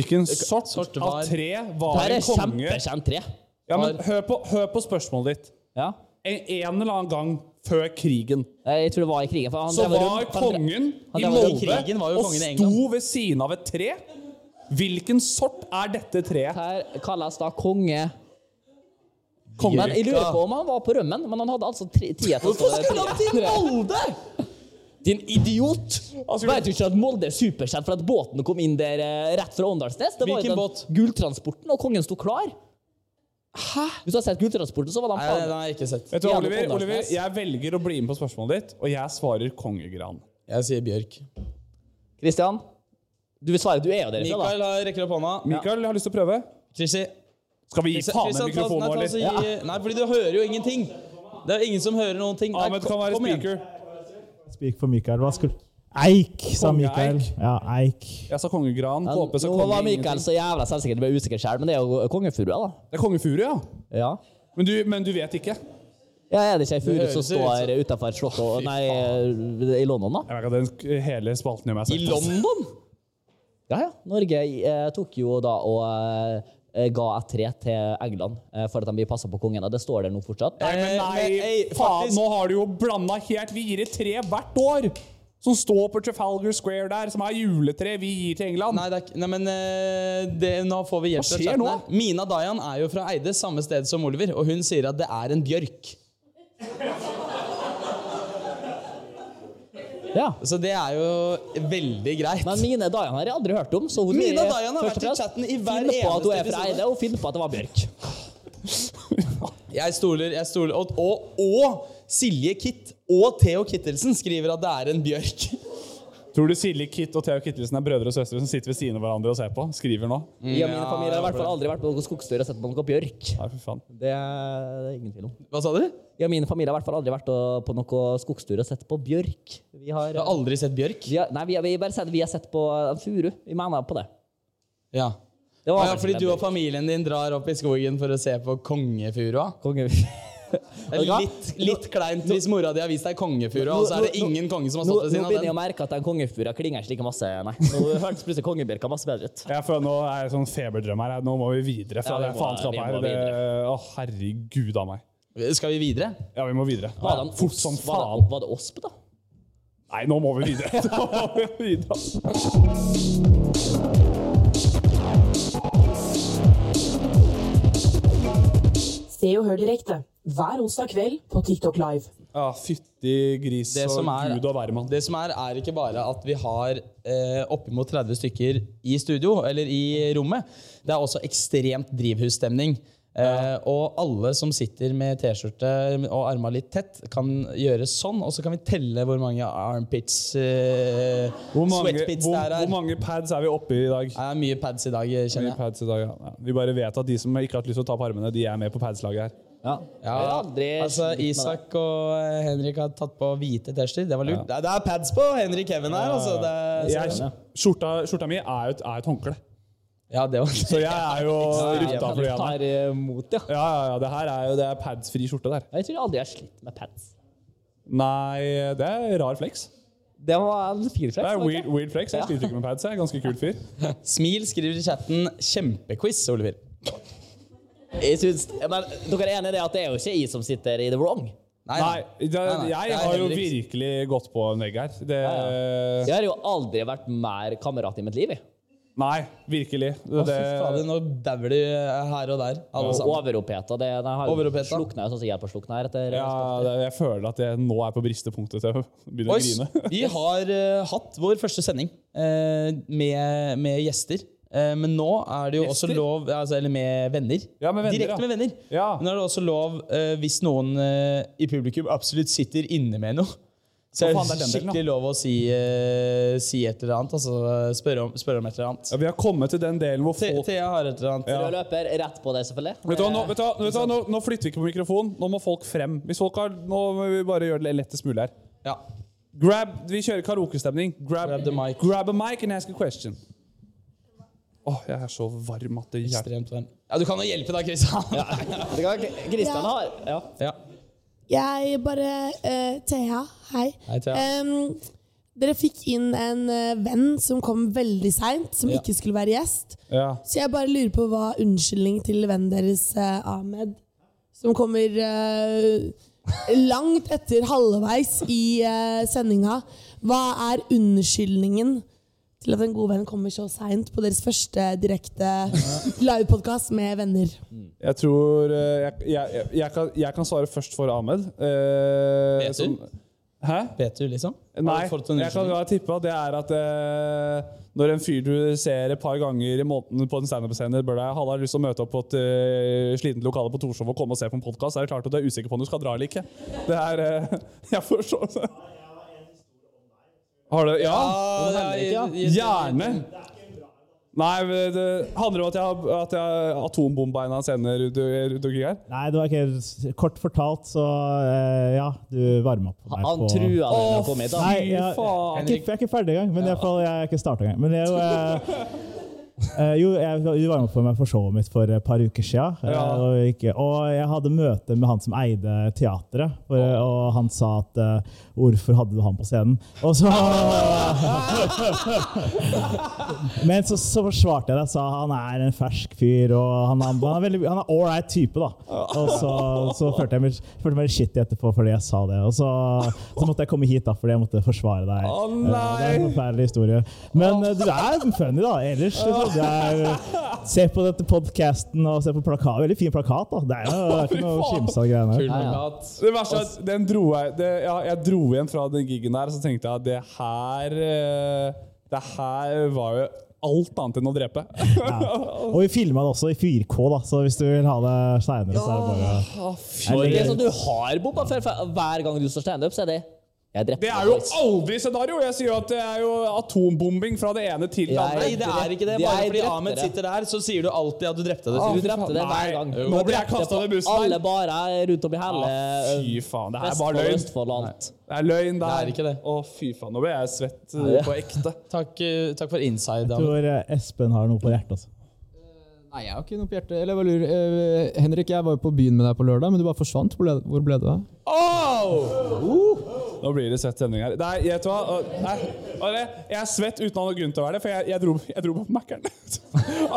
Hvilken Eh, sort, var- av tre var Dette er en konge? kjempekjent tre. Ja, men hør på, hør på spørsmålet ditt. Ja. En, en eller annen gang før krigen Eh, Jeg tror det var i krigen. For han så drev og var rundt- han drev- kongen han i drev og rundt- Molde og sto ved siden av et tre. Hvilken sort er dette treet? Her kalles da konge. Konge. Men jeg lurer på om han var på rømmen, men han hadde altså tre- tida til å stå Hvorfor skulle han til Molde?! Din idiot! Altså, Altså, Vet du ikke at Molde er superkjent for at båten kom inn der eh, rett fra Åndalsnes? Det var jo Hvilken den båt? Gulltransporten, og kongen sto klar. Hæ? Hvis du har sett Gulltransporten, så var den Nei, den har jeg ikke sett. Vet du, hva, Oliver, Jævla Oliver, Åndalsnes. jeg velger å bli med på spørsmålet ditt, og jeg svarer kongegran. Jeg sier bjørk. Christian, du vil svare. Du er jo derifra, da. Mikael har- rekker opp hånda. Mikael, jeg har lyst til å prøve. Chrissy. Skal vi gi Christian- faen i Christian, ta- mikrofonen nei, vår ta litt? oss i- Nei, fordi du hører jo ingenting. Det er ingen som hører noen ting. Nei, Ahmed kan kom- være kom igjen. speaker. Spik for Mikael. Hva skulle Eik, sa Mikael. Kongeeik. Ja, eik. Jeg sa kongegran. Håper så Nå konge var Mikael ingenting. så jævla selvsikker, du ble usikker selv, men det er jo kongefurua, da. Det er kongefuru, ja. Ja. Men du, men du vet ikke? Ja, er det ikke ei furu Det som høres jo står ut utafor slottet og- Nei, i London, da? Jeg vet ikke at den hele spalten gjør meg I London? Ja, ja. Norge eh, tok jo da og eh, ga et tre til England eh, for at de vil passe på kongen. og Det står der nå fortsatt. Nei, men nei, Eh, men, ei, faen, faktisk- nå har du jo blanda helt. Vi gir et tre hvert år som står på Trafalgar Square der, som er juletre vi gir til England. Nei, det er, ikke- nei men eh, det, nå får vi hjelp Hva fra skjer chatten nå? her. Mina Dayan er jo fra Eide, samme sted som Oliver, og hun sier at det er en bjørk. Ja. Så det er jo veldig greit. Men Mine Dayan har jeg aldri hørt om. Så hun vil, Mina eh, Dayan først har og vært i fremst chatten i hver finne på at hun eneste er fra episode. Eide, og finne på at det var Bjørk. Jeg stoler, jeg stoler. Og, og, og Silje Kitt og Theo Kittelsen skriver at det er en bjørk. Tror du Silje Kitt og Theo Kittelsen er brødre og søstre som sitter ved siden av hverandre og ser på? Skriver nå. Jeg og mine familier har i hvert fall aldri vært på noen skogstur og sett på noe Bjørk. Nei, for faen. Det er det er ingen tvil om. Hva sa du? Jeg og mine familier har i hvert fall aldri vært eh, på noen skogstur og sett på Bjørk. Vi har, Du har aldri sett bjørk? vi har, nei, vi har, vi, har bare sett, vi har sett på en furu. Vi mener på det. Ja. det Å var ja, kanskje fordi en du og familien din drar opp i skogen for å se på kongefurua? Konge... Det er litt, litt kleint hvis mora di har vist deg kongefurua, og så er det ingen konge som har nå, stått ved nå begynner siden jeg å av den. merke at den kongefura klinger ikke like masse. Nei, nå hørtes plutselig kongebjørka masse bedre ut. Jeg føler Nå er det sånn feberdrøm her. Nå må vi videre fra Ja, vi det må- vi faenskapet må her. Det, å, herregud av meg. Skal vi videre? Ja, vi må videre. Var det en Fort os- som var faen. det, var det osp, da? Nei, nå må vi videre. Nå må vi videre. Se og hør direkte hver onsdag kveld på TikTok Live. Ja, fytti gris Det og som er, gud og hvermann. det som er, er ikke bare at vi har eh, oppimot 30 stykker i studio, eller i rommet. Det er også ekstremt drivhusstemning. Eh, og alle som sitter med T-skjorte og arma litt tett, kan gjøre sånn. Og så kan vi telle hvor mange armpits, eh, Hvor mange, sweatpits hvor, det hvor er her. mange pads er vi oppe i i dag? Det er mye pads i dag, eh, Mye kjenner jeg. pads i dag, ja. ja. Vi bare vet at de som ikke har hatt lyst til å ta på armene, de er med på padslaget her. Ja, Jeg har aldri altså, slitt med Isak og eh, Henrik har tatt på hvite T-skjorter. Det var lurt. Det, er, det er pads på Henrik Even her, altså. Det er, Jeg, skjorta, skjorta mi er jo et, er et håndkle, ja, det var så jeg er jo rykta for det. Jeg igjen. tar imot, ja. Ja, ja, ja, det her er jo det er padsfri skjorte der. Jeg tror aldri jeg har slitt med pads. Nei, det er rar flex. Det var en fin flex. Det er var det weird, ikke? weird flex. Jeg sliter ikke med pads. Jeg er en ganske kul fyr. Smil skriver i chatten 'kjempequiz', Oliver. Jeg syns, men dere er enige i det at det er jo ikke jeg som sitter i the wrong? Nei, det, jeg har jo virkelig gått på en vegg her. Det, Jeg har jo aldri vært mer kamerat i mitt liv. jeg. Nei, virkelig. Å, fy fader, nå dauer de eh, her og der. alle sammen. Overoppheta. Det den har Overoppheta. slukna jo sånn som hjelperslukna her. Etter, Ja, det, jeg føler at jeg nå er på bristepunktet til å begynne Boys, å grine. vi har eh, hatt vår første sending eh, med, med gjester. Eh, men nå er det jo også Gjester? lov altså, Eller med venner. med venner, Direkte ja. med venner. Men nå er det også lov, eh, hvis noen eh, i publikum absolutt sitter inne med noe, så Hva faen, er det er det den delen, da? skikkelig lov å si, eh, si et eller annet. Altså spørre om, spørre om et eller annet. Ja, vi har kommet til den delen hvor Thea folk Thea har et eller annet. Ja. Rød løper rett på deg, selvfølgelig. Vet du, hva, nå, vet du, hva, vet du, hva, nå, nå flytter vi ikke på mikrofonen. Nå må folk frem. Hvis folk har, nå må vi bare gjøre det lettest mulig her. Grab, vi kjører karaokestemning. Grab, grab, grab a mic and ask a question. Åh, jeg er så varm at det hjelper. Ekstremt varm. Ja, du kan jo hjelpe da, Kristian. Kristian Ja. har ja. Jeg bare eh, Thea, hei. Hei, Thea. Em, dere fikk inn en eh, venn som kom veldig seint, som Ja. ikke skulle være gjest. Ja. Så jeg bare lurer på hva unnskyldning til vennen deres, eh, Ahmed, som kommer eh, langt etter halvveis i eh, sendinga Hva er unnskyldningen til at en god venn kommer så seint på deres første direkte livepodkast med venner? Jeg tror eh, jeg, jeg, jeg, jeg, kan, jeg kan svare først for Ahmed. Eh, Vet du? som- Hæ? Vet du, liksom? Nei, Har du fått en jeg kan unnskyldning? bare tippe at det er at eh, når en fyr du ser et par ganger i måneden på en standup-scene, bør deg Halla, har lyst til å møte opp på et eh, slitent lokale på Torshov og komme og se på en podkast, er det klart at du er usikker på om du skal dra eller ikke. Det er eh, Jeg forstår det. Har du Ja? Ja, ja, ja, ja. Gjerne. Nei, det handler om at jeg har at jeg har atombombeina senere rundt rundt omkring her. Nei, det var ikke helt Kort fortalt, så eh, ja, du varma opp meg Han på trua dere Å, å komme hit. da. Nei, jeg, jeg, er ikke, jeg er ikke ferdig engang. Men i hvert fall, jeg er ikke starta engang. Men jeg, eh, eh, jo, jeg, du var med på meg for showet mitt for et par uker siden. eh, Ja. Og, ikke, og jeg hadde møte med han som eide teatret, for, og han sa at eh, 'Hvorfor hadde du han på scenen?' Og så Men så, så forsvarte jeg det og sa han er en fersk fyr og han er, han er, veldig, han er all right type. da. Og så, så følte jeg meg, følte meg litt shitty etterpå fordi jeg sa det. Og så, så måtte jeg komme hit da, fordi jeg måtte forsvare deg. Å, Eh, nei! Det er en forferdelig historie. Men eh, du er funny, da. Ellers liksom. Du er, se på dette podcasten og se på plakat. Veldig fin plakat. da. Det er jo det er ikke noe skimsa greiene. Kul her. plakat. Det verste er at den dro jeg, det, ja, jeg dro igjen fra den giggen der, så tenkte jeg at det her eh, Det her var jo alt annet enn å drepe. Og vi filma det også i 4K, da, så hvis du vil ha det seinere, så er det bare Det er sånn du har bomba før. for Hver gang du står standup, så er det Jeg drepte Det er jo aldri scenario! Jeg sier jo at det er jo atombombing fra det ene til det Jeg- andre. Nei, det er ikke det. Jeg Bare fordi drepte Ahmed det. sitter der, så sier du alltid at du drepte det. Å, Du fy drepte faen. det Nei. hver gang. Jo, Du nå ble jeg drepte kastet på under bussen her. Alle barer rundt om i hele Å, Ah, fy faen. Det her Vestfold og er bare løgn. eh, Østfold og alt. Det er løgn, det Det er her. ikke det. Å, fy faen. Nå ble jeg svett eh, Ja. på ekte. Takk, eh, takk for inside. Jeg tror eh, Espen har noe på hjertet. altså. Nei, jeg har ikke noe på hjertet. Eller jeg bare lurer. Eh, Henrik, jeg var jo på byen med deg på lørdag, men du bare forsvant. Hvor ble, hvor ble du av? Nå blir det svett stemning her. Nei, vet du hva? Å, Nei, Å, det- jeg er svett uten å ha noen grunn til å være det, for jeg, jeg, dro, jeg dro på Mækkern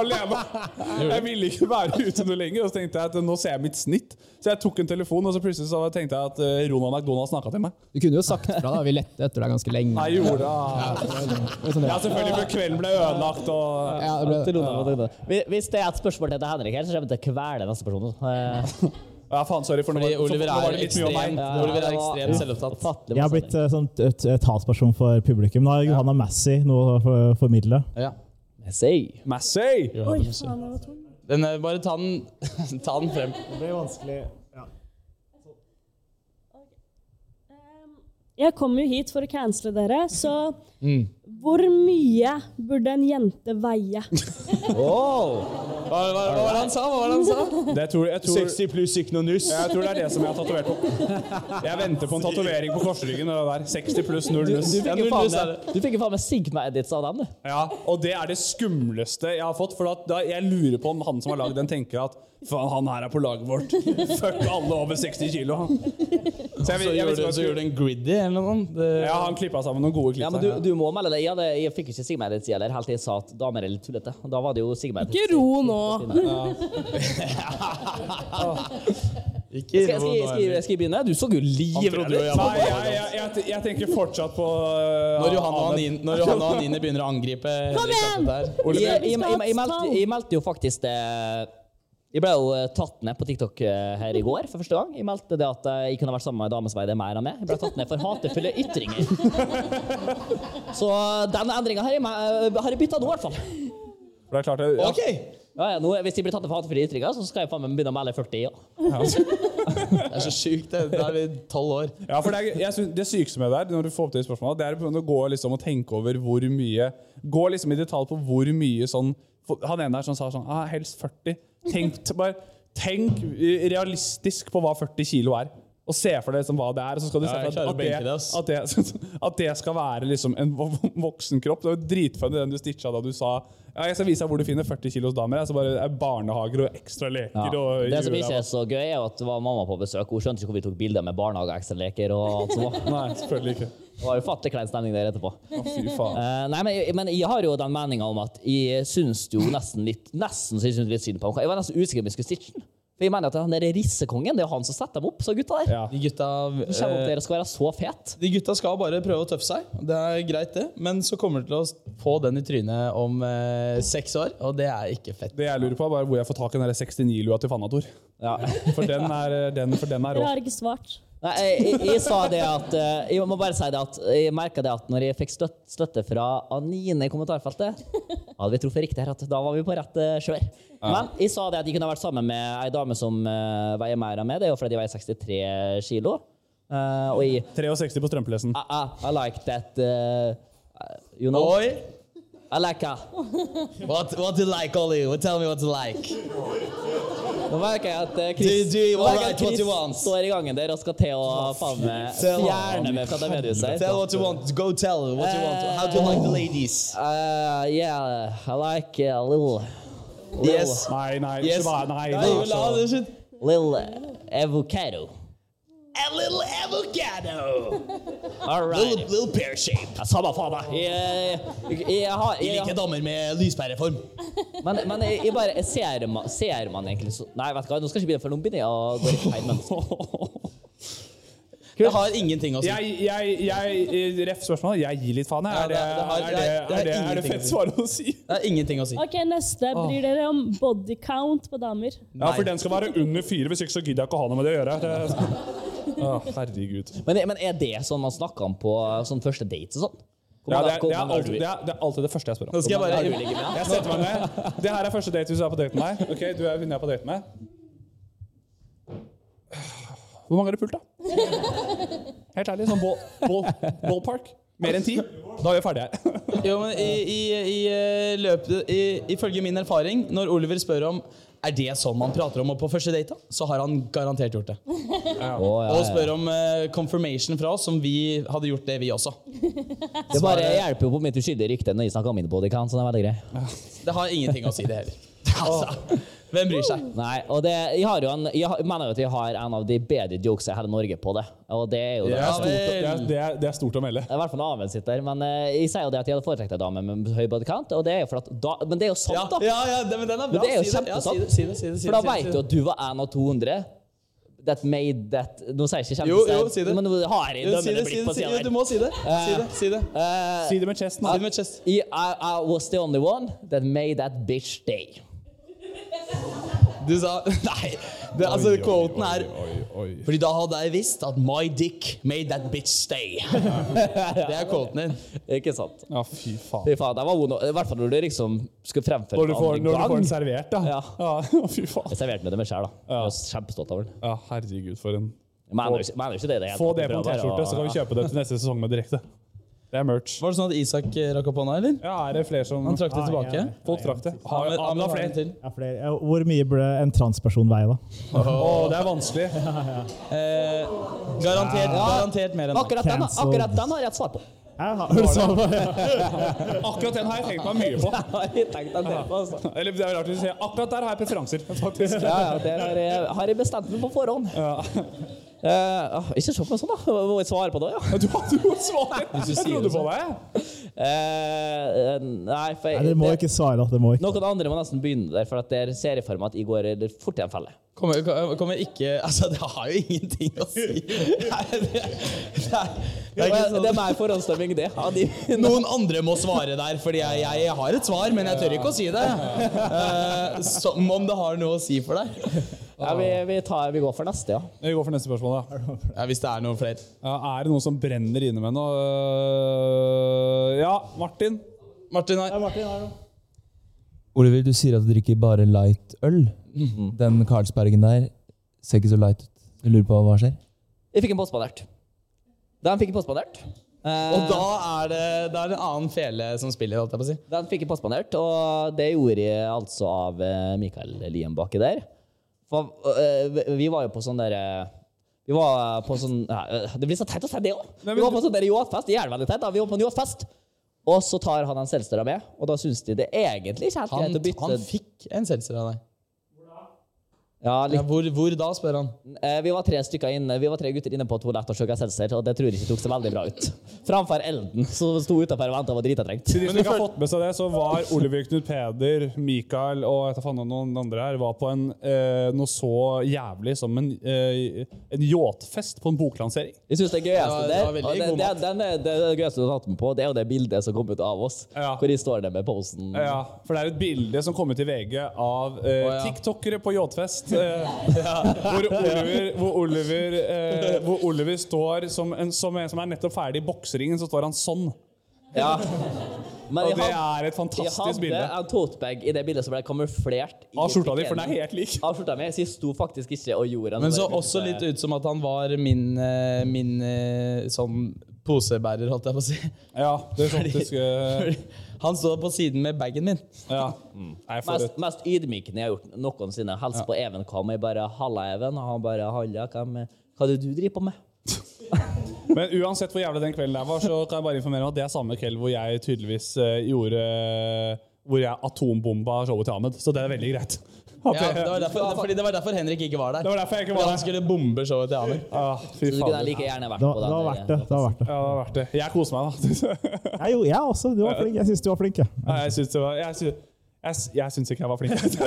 alene. Jeg ville ikke være ute noe lenger, og så tenkte jeg at nå ser jeg mitt snitt. Så jeg tok en telefon, og så plutselig så tenkte jeg at eh, Ronald McDonald snakka til meg. Du kunne jo sagt fra, da. Vi lette etter deg ganske lenge. Jeg gjorde det. sånn- Ja, selvfølgelig, for kvelden ble ødelagt og Ja, det ble det. Til Ronald og Ronald. Hvis- Hvis det er et spørsmål til dette Henrik her, så kommer jeg til å kvele neste person. Eh, Ja, faen, sorry, for nå Fordi var, så, Oliver nå var er det litt mye om meg. ekstremt, Oliver er ekstremt selvopptatt. Jeg har blitt eh, sånn, t- t- talsperson for publikum. Nå har Johanna Massey noe å for- formidle. Ja. Massey. Massey! Den, eh, bare ta den, ta den frem. Det blir vanskelig. Jeg kom jo hit for å cancele dere, så Mm. hvor mye burde en jente veie? Hva, hva, hva var det han sa? Hva var det han sa? Det tror, jeg, tror, jeg pluss ikke noe nuss. tror det er det som jeg har tatovert opp. Jeg venter på en tatovering på korsryggen. og det der. 60 pluss null Du, nuss. du fikk Ja, jo null nuss er faen meg, du fikk jo faen meg Sigma-edits av dem, du. Ja, og det er det skumleste jeg har fått. For at da, jeg lurer på om han som har lagd den, tenker at faen, han her er på laget vårt. Fuck alle over 60 kilo. Så jeg, Så jeg, jeg gjorde vet du ikke hva jeg så gjorde du skulle en griddy eller noe sånt. Det, Ja, han klippa sammen noen gode klipp. Ja, men der, du, du må melde deg. Jeg, hadde, jeg fikk jo ikke Sigma-edits heller, helt til jeg sa at damer er litt tullete. Da var det jo Sigma-edits. Ikke ro nå, Skal Ikke jeg, skal, jeg, skal, jeg, skal jeg begynne? Du så jo livredd ut! Nei, jeg, jeg, jeg, jeg tenker fortsatt på eh, Når Johanna og Anine, når Johanna og Anine begynner å angripe Henrik igjen! Kappet Jeg, der. jeg, jeg, jeg, meldte, jeg meldte jo faktisk det Jeg ble jo eh, tatt ned på TikTok eh, her i går for første gang. Jeg meldte det at eh, jeg kunne vært sammen med ei dame som veide mer enn meg. Jeg ble tatt ned for hatefulle ytringer. Så den endringa har jeg, me- eh, har jeg bytta nå, i hvert fall. For det er klart det, ja. Ja, ja, nå, hvis jeg blir tatt ned for hatefulle ytringer, så skal jeg faen meg begynne å melde 40, ja. Det er så sjukt. det. Da er vi tolv år. Ja, for Det, er, jeg synes, det sykeste med det der, når du får opp det spørsmålet, det er på en måte å gå liksom og tenke over hvor mye Gå liksom i detalj på hvor mye sånn for- Han ene der som sa sånn ah, Helst 40. Tenk, t- bare, tenk eh, realistisk på hva 40 kilo er. Og se for deg liksom hva det er. Og så skal du Ja, se jeg for klarer å deg benke det, ass. at, det, at, det, at det skal være liksom en vo- voksen kropp. Det var jo dritfunny den du stitcha da du sa ja, jeg skal vise deg hvor du finner 40 kilos damer. jeg», Så bare det er barnehager og ekstra leker. Og Det som jula ikke er så gøy, er jo at det var mamma på besøk. Hun skjønte ikke hvor vi tok bilder med barnehage og ekstraleker. Og alt som var. Nei, selvfølgelig ikke. Det var jo fattig klein stemning der etterpå. fy faen. Eh, nei, men, jeg- men jeg har jo den meninga om at jeg syns jo nesten litt Nesten så jeg syns litt synd på ham. Jeg var nesten usikker om jeg skulle stitche den. For jeg mener at han der rissekongen, det er jo han som setter dem opp, så gutta der. De gutta, eh, Hvordan kommer opp dere skal være så fet? De gutta skal bare prøve å tøffe seg. Det er greit, det. Men så kommer de til å få den i trynet om eh, seks år, og det er ikke fett. Det jeg lurer på, er bare hvor jeg får tak i den der 69-lua til Fanator. For den er, den, for den er Dere rå. har ikke svart. Nei, jeg, jeg, jeg sa det at eh, Jeg må bare si det at Jeg merka det at når jeg fikk støtt, støtte fra Anine i kommentarfeltet Hadde vi truffet riktig her, at da var vi på rett eh, kjør. Men jeg sa det at jeg kunne vært sammen med ei dame som eh, veier mer enn meg. Det er jo fordi jeg veier 63 kilo. Eh, og jeg 63 på strømpelessen. I, Ah, I, I like that eh, You know? Oi! I like ah. her. What, what do you like, Ollie? Well, Tell me what you like. Nå merker jeg at eh, Do you- Chris, do you nå merker jeg like at what Chris you want? står i gangen der og skal til å faen meg Tell- fjerne meg fra det mediehuset. her. Tell what you want. Go tell what you want. How do you like the ladies? Uh, yeah, I like uh, little, little, Yes. Nei, nei, Yes. ikke bare, nei, Nei, nei, jo, la altså. det slutt. little eh, avocado. A little avocado. All Little, right. little pear shape. Ja, Samme faen, da. Jeg, jeg, jeg, har- Jeg liker jeg, damer med lyspæreform. men men jeg, jeg bare jeg ser, man, ser man egentlig så Nei, vet du hva, nå skal jeg ikke begynne, for nå begynner jeg å gå litt feil menneske. Jeg har ingenting å si. Jeg, jeg, jeg, eh, Ref spørsmål. Jeg gir litt faen, jeg. Er Ja, det- det, det er har- det, jeg- det har er det, er det ingenting å fett si. svar å si? Det er ingenting å si. Ok, neste. Bryr dere om body count på damer? Ja, for den skal være under fire, hvis ikke så gidder jeg ikke å ha noe med det å gjøre. Det, Å, herregud. Men, men er det sånn man snakker om på sånn første dates og sånn? Hvor Ja, mange- det, er, hvor det, er mange har alltid, du- det, er, det er alltid det første jeg spør om. Nå skal jeg har du bare ligget med? Jeg setter meg ned. Det her er første date hvis du er på date med meg. Ok, du er hun jeg er på date med. Hvor mange har du pult, da? Helt ærlig, sånn ball, ball, ballpark. Mer enn ti. Da er vi ferdige her. Jo, men i, i, i eh, løpet i, Ifølge min erfaring, når Oliver spør om er det sånn man prater om på første date, da?" så har han garantert gjort det. Å, ja, Og ja. spør om eh, confirmation fra oss, som vi hadde gjort det, vi også. Det bare eh, hjelper jo på mitt uskyldige rykte når jeg snakker om min body count, så det er veldig greit. Det har ingenting å si, det heller. Altså, hvem bryr seg? Nei, og det, jeg, har jo en, jeg har- mener jo at jeg har en av de bedre jokes i hele Norge på det. Og det er jo det. Det er Ja, stort, det er, vel. det er, det er stort å melde. Det er i hvert fall en annen sitter, men eh, jeg sier jo det at jeg hadde foretrekt ei dame med høy bodykant, og det er jo for at da, men det er jo Ja, sant, da. ja, ja det, men den er bra. Men det er jo si Ja, si kjempesant. det, si det, si det, si For da det, si det, vet du si det. at du var en av 200. That made that Nå sier jeg ikke Jo, kjendis jo, her, si det. men nå har jeg Jo, si dømmende det, si blikk det, på si det. sida Jo, Du må si det. Si det, si det. Si det med chesten. Si det med chest. I, I, I was the only one that made that bitch day. Du sa Nei! Det, altså, quoten er Fordi da hadde jeg visst at my dick made that bitch stay. Det er quoten din. Ikke sant? Ja, fy faen. Fy faen, det var vond, I hvert fall når du liksom skulle fremføre Når du det får, andre når du får gang. den servert, da. Ja. Ja, fy faen. Jeg serverte meg det med sjøl, da. Jeg var kjempestolt over den. Ja, herregud, for en Jeg mener jo ikke- mener jo ikke det. det er helt Få sant, det jeg på en prøver bare å- T-skjorte, så kan vi kjøpe det til neste sesong med direkte. Det er merch. Var det sånn at Isak eh, rakk opp hånda, eller? Ja, er det flere som Han trakk det Nei, tilbake. jeg- Folk trakk det. Har, Ahmed- Ahmed Ahmed har har flere. en til. Ja, flere. Ja, Hvor mye burde en transperson veie, da? Å, det er vanskelig. Eh, garantert, garantert mer enn det. Akkurat den, da. Cancelled. akkurat den har jeg et svar på. Hæ, har du svaret? Akkurat den har jeg tenkt meg mye på. jeg tenkte at det var altså. Eller det er rart å si. Akkurat der har jeg preferanser, faktisk. Ja, eh, ja, der har jeg, har jeg bestemt meg på forhånd. Eh, ah, ikke se på meg sånn, da. Må jeg svare på det, ja? Du hadde jo svaret! Hvis du Jeg sier trodde det på så. deg. Eh, nei, for jeg, Nei, dere må det- ikke svare at dere må ikke. Noen andre må nesten begynne der, for at der ser jeg for meg at jeg går det er fort i en felle. Kommer, kommer ikke Altså, det har jo ingenting å si. Nei, det, det, Det er, sånn- det sånn- er meg forhåndsstemming, det. Ja, de, Noen andre må svare der, fordi jeg, jeg har et svar, men jeg tør ikke å si det. Eh, som om det har noe å si for deg. ja, vi, vi, tar, vi går for neste, ja. Vi går for neste spørsmål, da. Ja, hvis det er noen flere. Ja, er det noe som brenner inne med noe? Øh, Ja, Martin. Martin her. Oliver, du sier at du drikker bare light øl. Mhm. Den Carlsbergen der ser ikke så light ut. Jeg lurer på hva skjer? Jeg fikk en påspandert. Den fikk jeg påspandert. Og da er det, da er det en annen fele som spiller, holdt jeg på å si. Den fikk jeg påspandert, og det gjorde jeg altså av eh, Mikael Lien baki der. For, eh, vi- vi var jo på sånn der eh, Vi var på sånn Nei, eh, Det blir så teit å si det òg! Vi var på sånn der yachtfest. Det er veldig teit, da. Vi var på en yachtfest. Og så tar han en selstera med, og da syns de det egentlig ikke er helt greit Han, å bytte han fikk en seltzer av deg. Ja, litt- hvor, hvor da, spør han. Eh, Vi var tre stykker inne, vi var tre gutter inne på et toalett og søka seltzer, og det tror jeg ikke tok så veldig bra ut. Framfor elden, som sto utafor og venta og var dritatrengt. Til de som ikke har fått med seg det, så var Oliver Knut Peder, Mikael og jeg vet da faen om noen andre her var på en, eh, noe så jævlig som en, eh, en yachtfest på en boklansering. Jeg synes det gøyeste der, Det var- det var og veldig det, god det, mat. den er- det, er det gøyeste du har tatt med på, det er jo det bildet som kom ut av oss, hvor de står der med posen. Ja, for det er et bilde som kom ut i VG av eh, ja. tiktokere på yachtfest. Eh, Hvor Oliver, hvor, Oliver, eh, hvor Oliver står som en som, en som er nettopp ferdig i bokseringen, så står han sånn. Ja. Og det er et fantastisk Jeg bilde. hadde en totebag i det bildet som ble kamuflert. i Av skjorta di, for den er bikini. helt lik. Av skjorta mi, så jeg sto faktisk ikke og gjorde en Men sånn så der- også litt ut som at han var min, eh, min eh, sånn posebærer, holdt jeg på å si. Ja, det er Fordi- faktisk, eh, fordi Mm. Han står på siden med bagen min. Mest, mest ydmykende jeg har gjort noensinne. Hils på Even Kam, og jeg bare 'Halla, Even', og han bare 'Halla, hvem, hva er det du driver på med?' Men uansett hvor jævlig den kvelden der var, så kan jeg bare informere om at det er samme kveld hvor jeg tydeligvis eh, gjorde eh, Hvor jeg atombomba showet til Ahmed. Så det er veldig greit. Ja, det, var derfor, fordi det var derfor Henrik ikke var der. Det var derfor jeg ikke Fordi var Han der. skulle bombe showet til Amer. Ah, fy Så du kunne fader. like gjerne vært Det var, det var verdt det. det, var verdt det. Ja, det var verdt det. Jeg koser meg, da. Jeg, jo, jeg også. Du var flink. Jeg syns du var flink. jeg. Nei, jeg syns det var Jeg, sy- jeg, s- jeg syns ikke jeg var flink.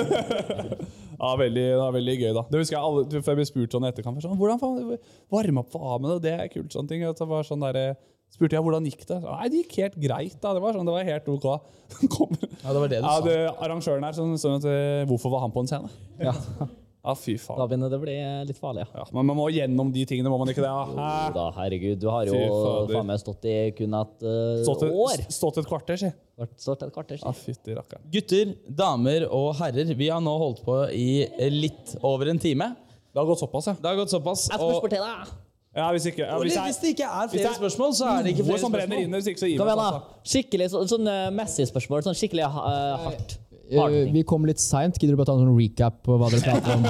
ja, veldig, det var veldig gøy, da. Det husker jeg alle, for jeg ble spurt sånn i etterkant. Sånn, hvordan faen varme opp for Ahmed? og Det er kult. sånne ting. Og så var sånn der, eh, spurte jeg hvordan gikk det Nei, det gikk helt greit. da. Det var sånn, det var helt OK. Ja, det var det du Ja, sa. det, arrangøren her sånn, sånn at, eh, Hvorfor var han på en scene? Ja, fy faen. Da begynner det å bli litt farlig, ja. Men man må gjennom de tingene, må man ikke det? Ja. Jo da, herregud. Du har Fy jo fader. faen meg stått i kun et eh, Stått et- år. Stått et kvarter, si. Stått et kvarter, si. Ja, fytti rakkeren. Gutter, damer og herrer, vi har nå holdt på i litt over en time. Det har gått såpass, ja. Det har gått såpass. Jeg og- spørsmål til deg. Ja, hvis ikke, ja, Ole, hvis jeg- hvis det ikke er hvis flere det spørsmål, så er det ikke noe flere som brenner spørsmål. inne, hvis ikke så gir altså. Kom meg igjen, faen. da. Skikkelig så, sånn uh, Messi-spørsmål. Sånn skikkelig eh, hardt. Eh, Vi kom litt seint. Gidder du bare ta en sånn recap på hva dere prater om?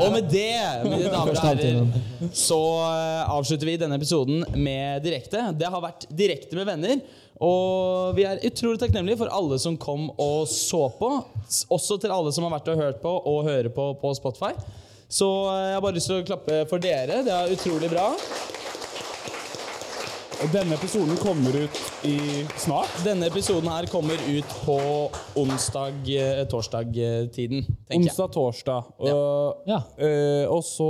Og med det, mine damer og Første halvtimen. herrer, så eh, avslutter vi denne episoden med direkte. Det har vært direkte med venner. Og vi er utrolig takknemlige for alle som kom og så på. S- Også til alle som har vært og hørt på og hører på på Spotify. Så eh, jeg har bare lyst til å klappe for dere. Det er utrolig bra. Og denne episoden kommer ut i snart? Denne episoden her kommer ut på eh, onsdag-torsdag-tiden, tenker jeg. Onsdag, torsdag. Og, eh, og så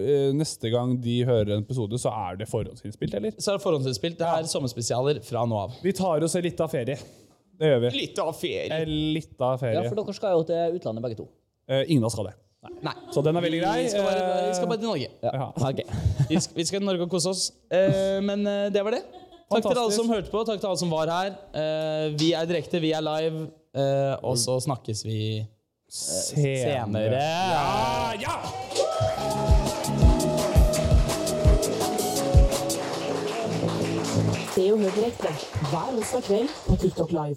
eh, neste gang de hører en episode, så er det forhåndsinnspilt, eller? Så er det forhåndsinnspilt. Det er sommerspesialer fra nå av. Vi tar oss en lita ferie. Det gjør vi. Litt av ferie. En lita ferie. Ja, for dere skal jo til utlandet, begge to. Eh, ingen av oss skal det. Nei. Så den er veldig grei. Vi skal bare, Eh, vi skal bare til Norge. ja. vi, skal, vi skal til Norge og kose oss. Eh, men eh, det var det. Takk til alle Fantastisk. som hørte på, takk til alle som var her. Eh, vi er direkte, vi er live. eh, og så snakkes vi eh, senere. Ja, ja! Se og hør direkte hver onsdag kveld på TikTok Live.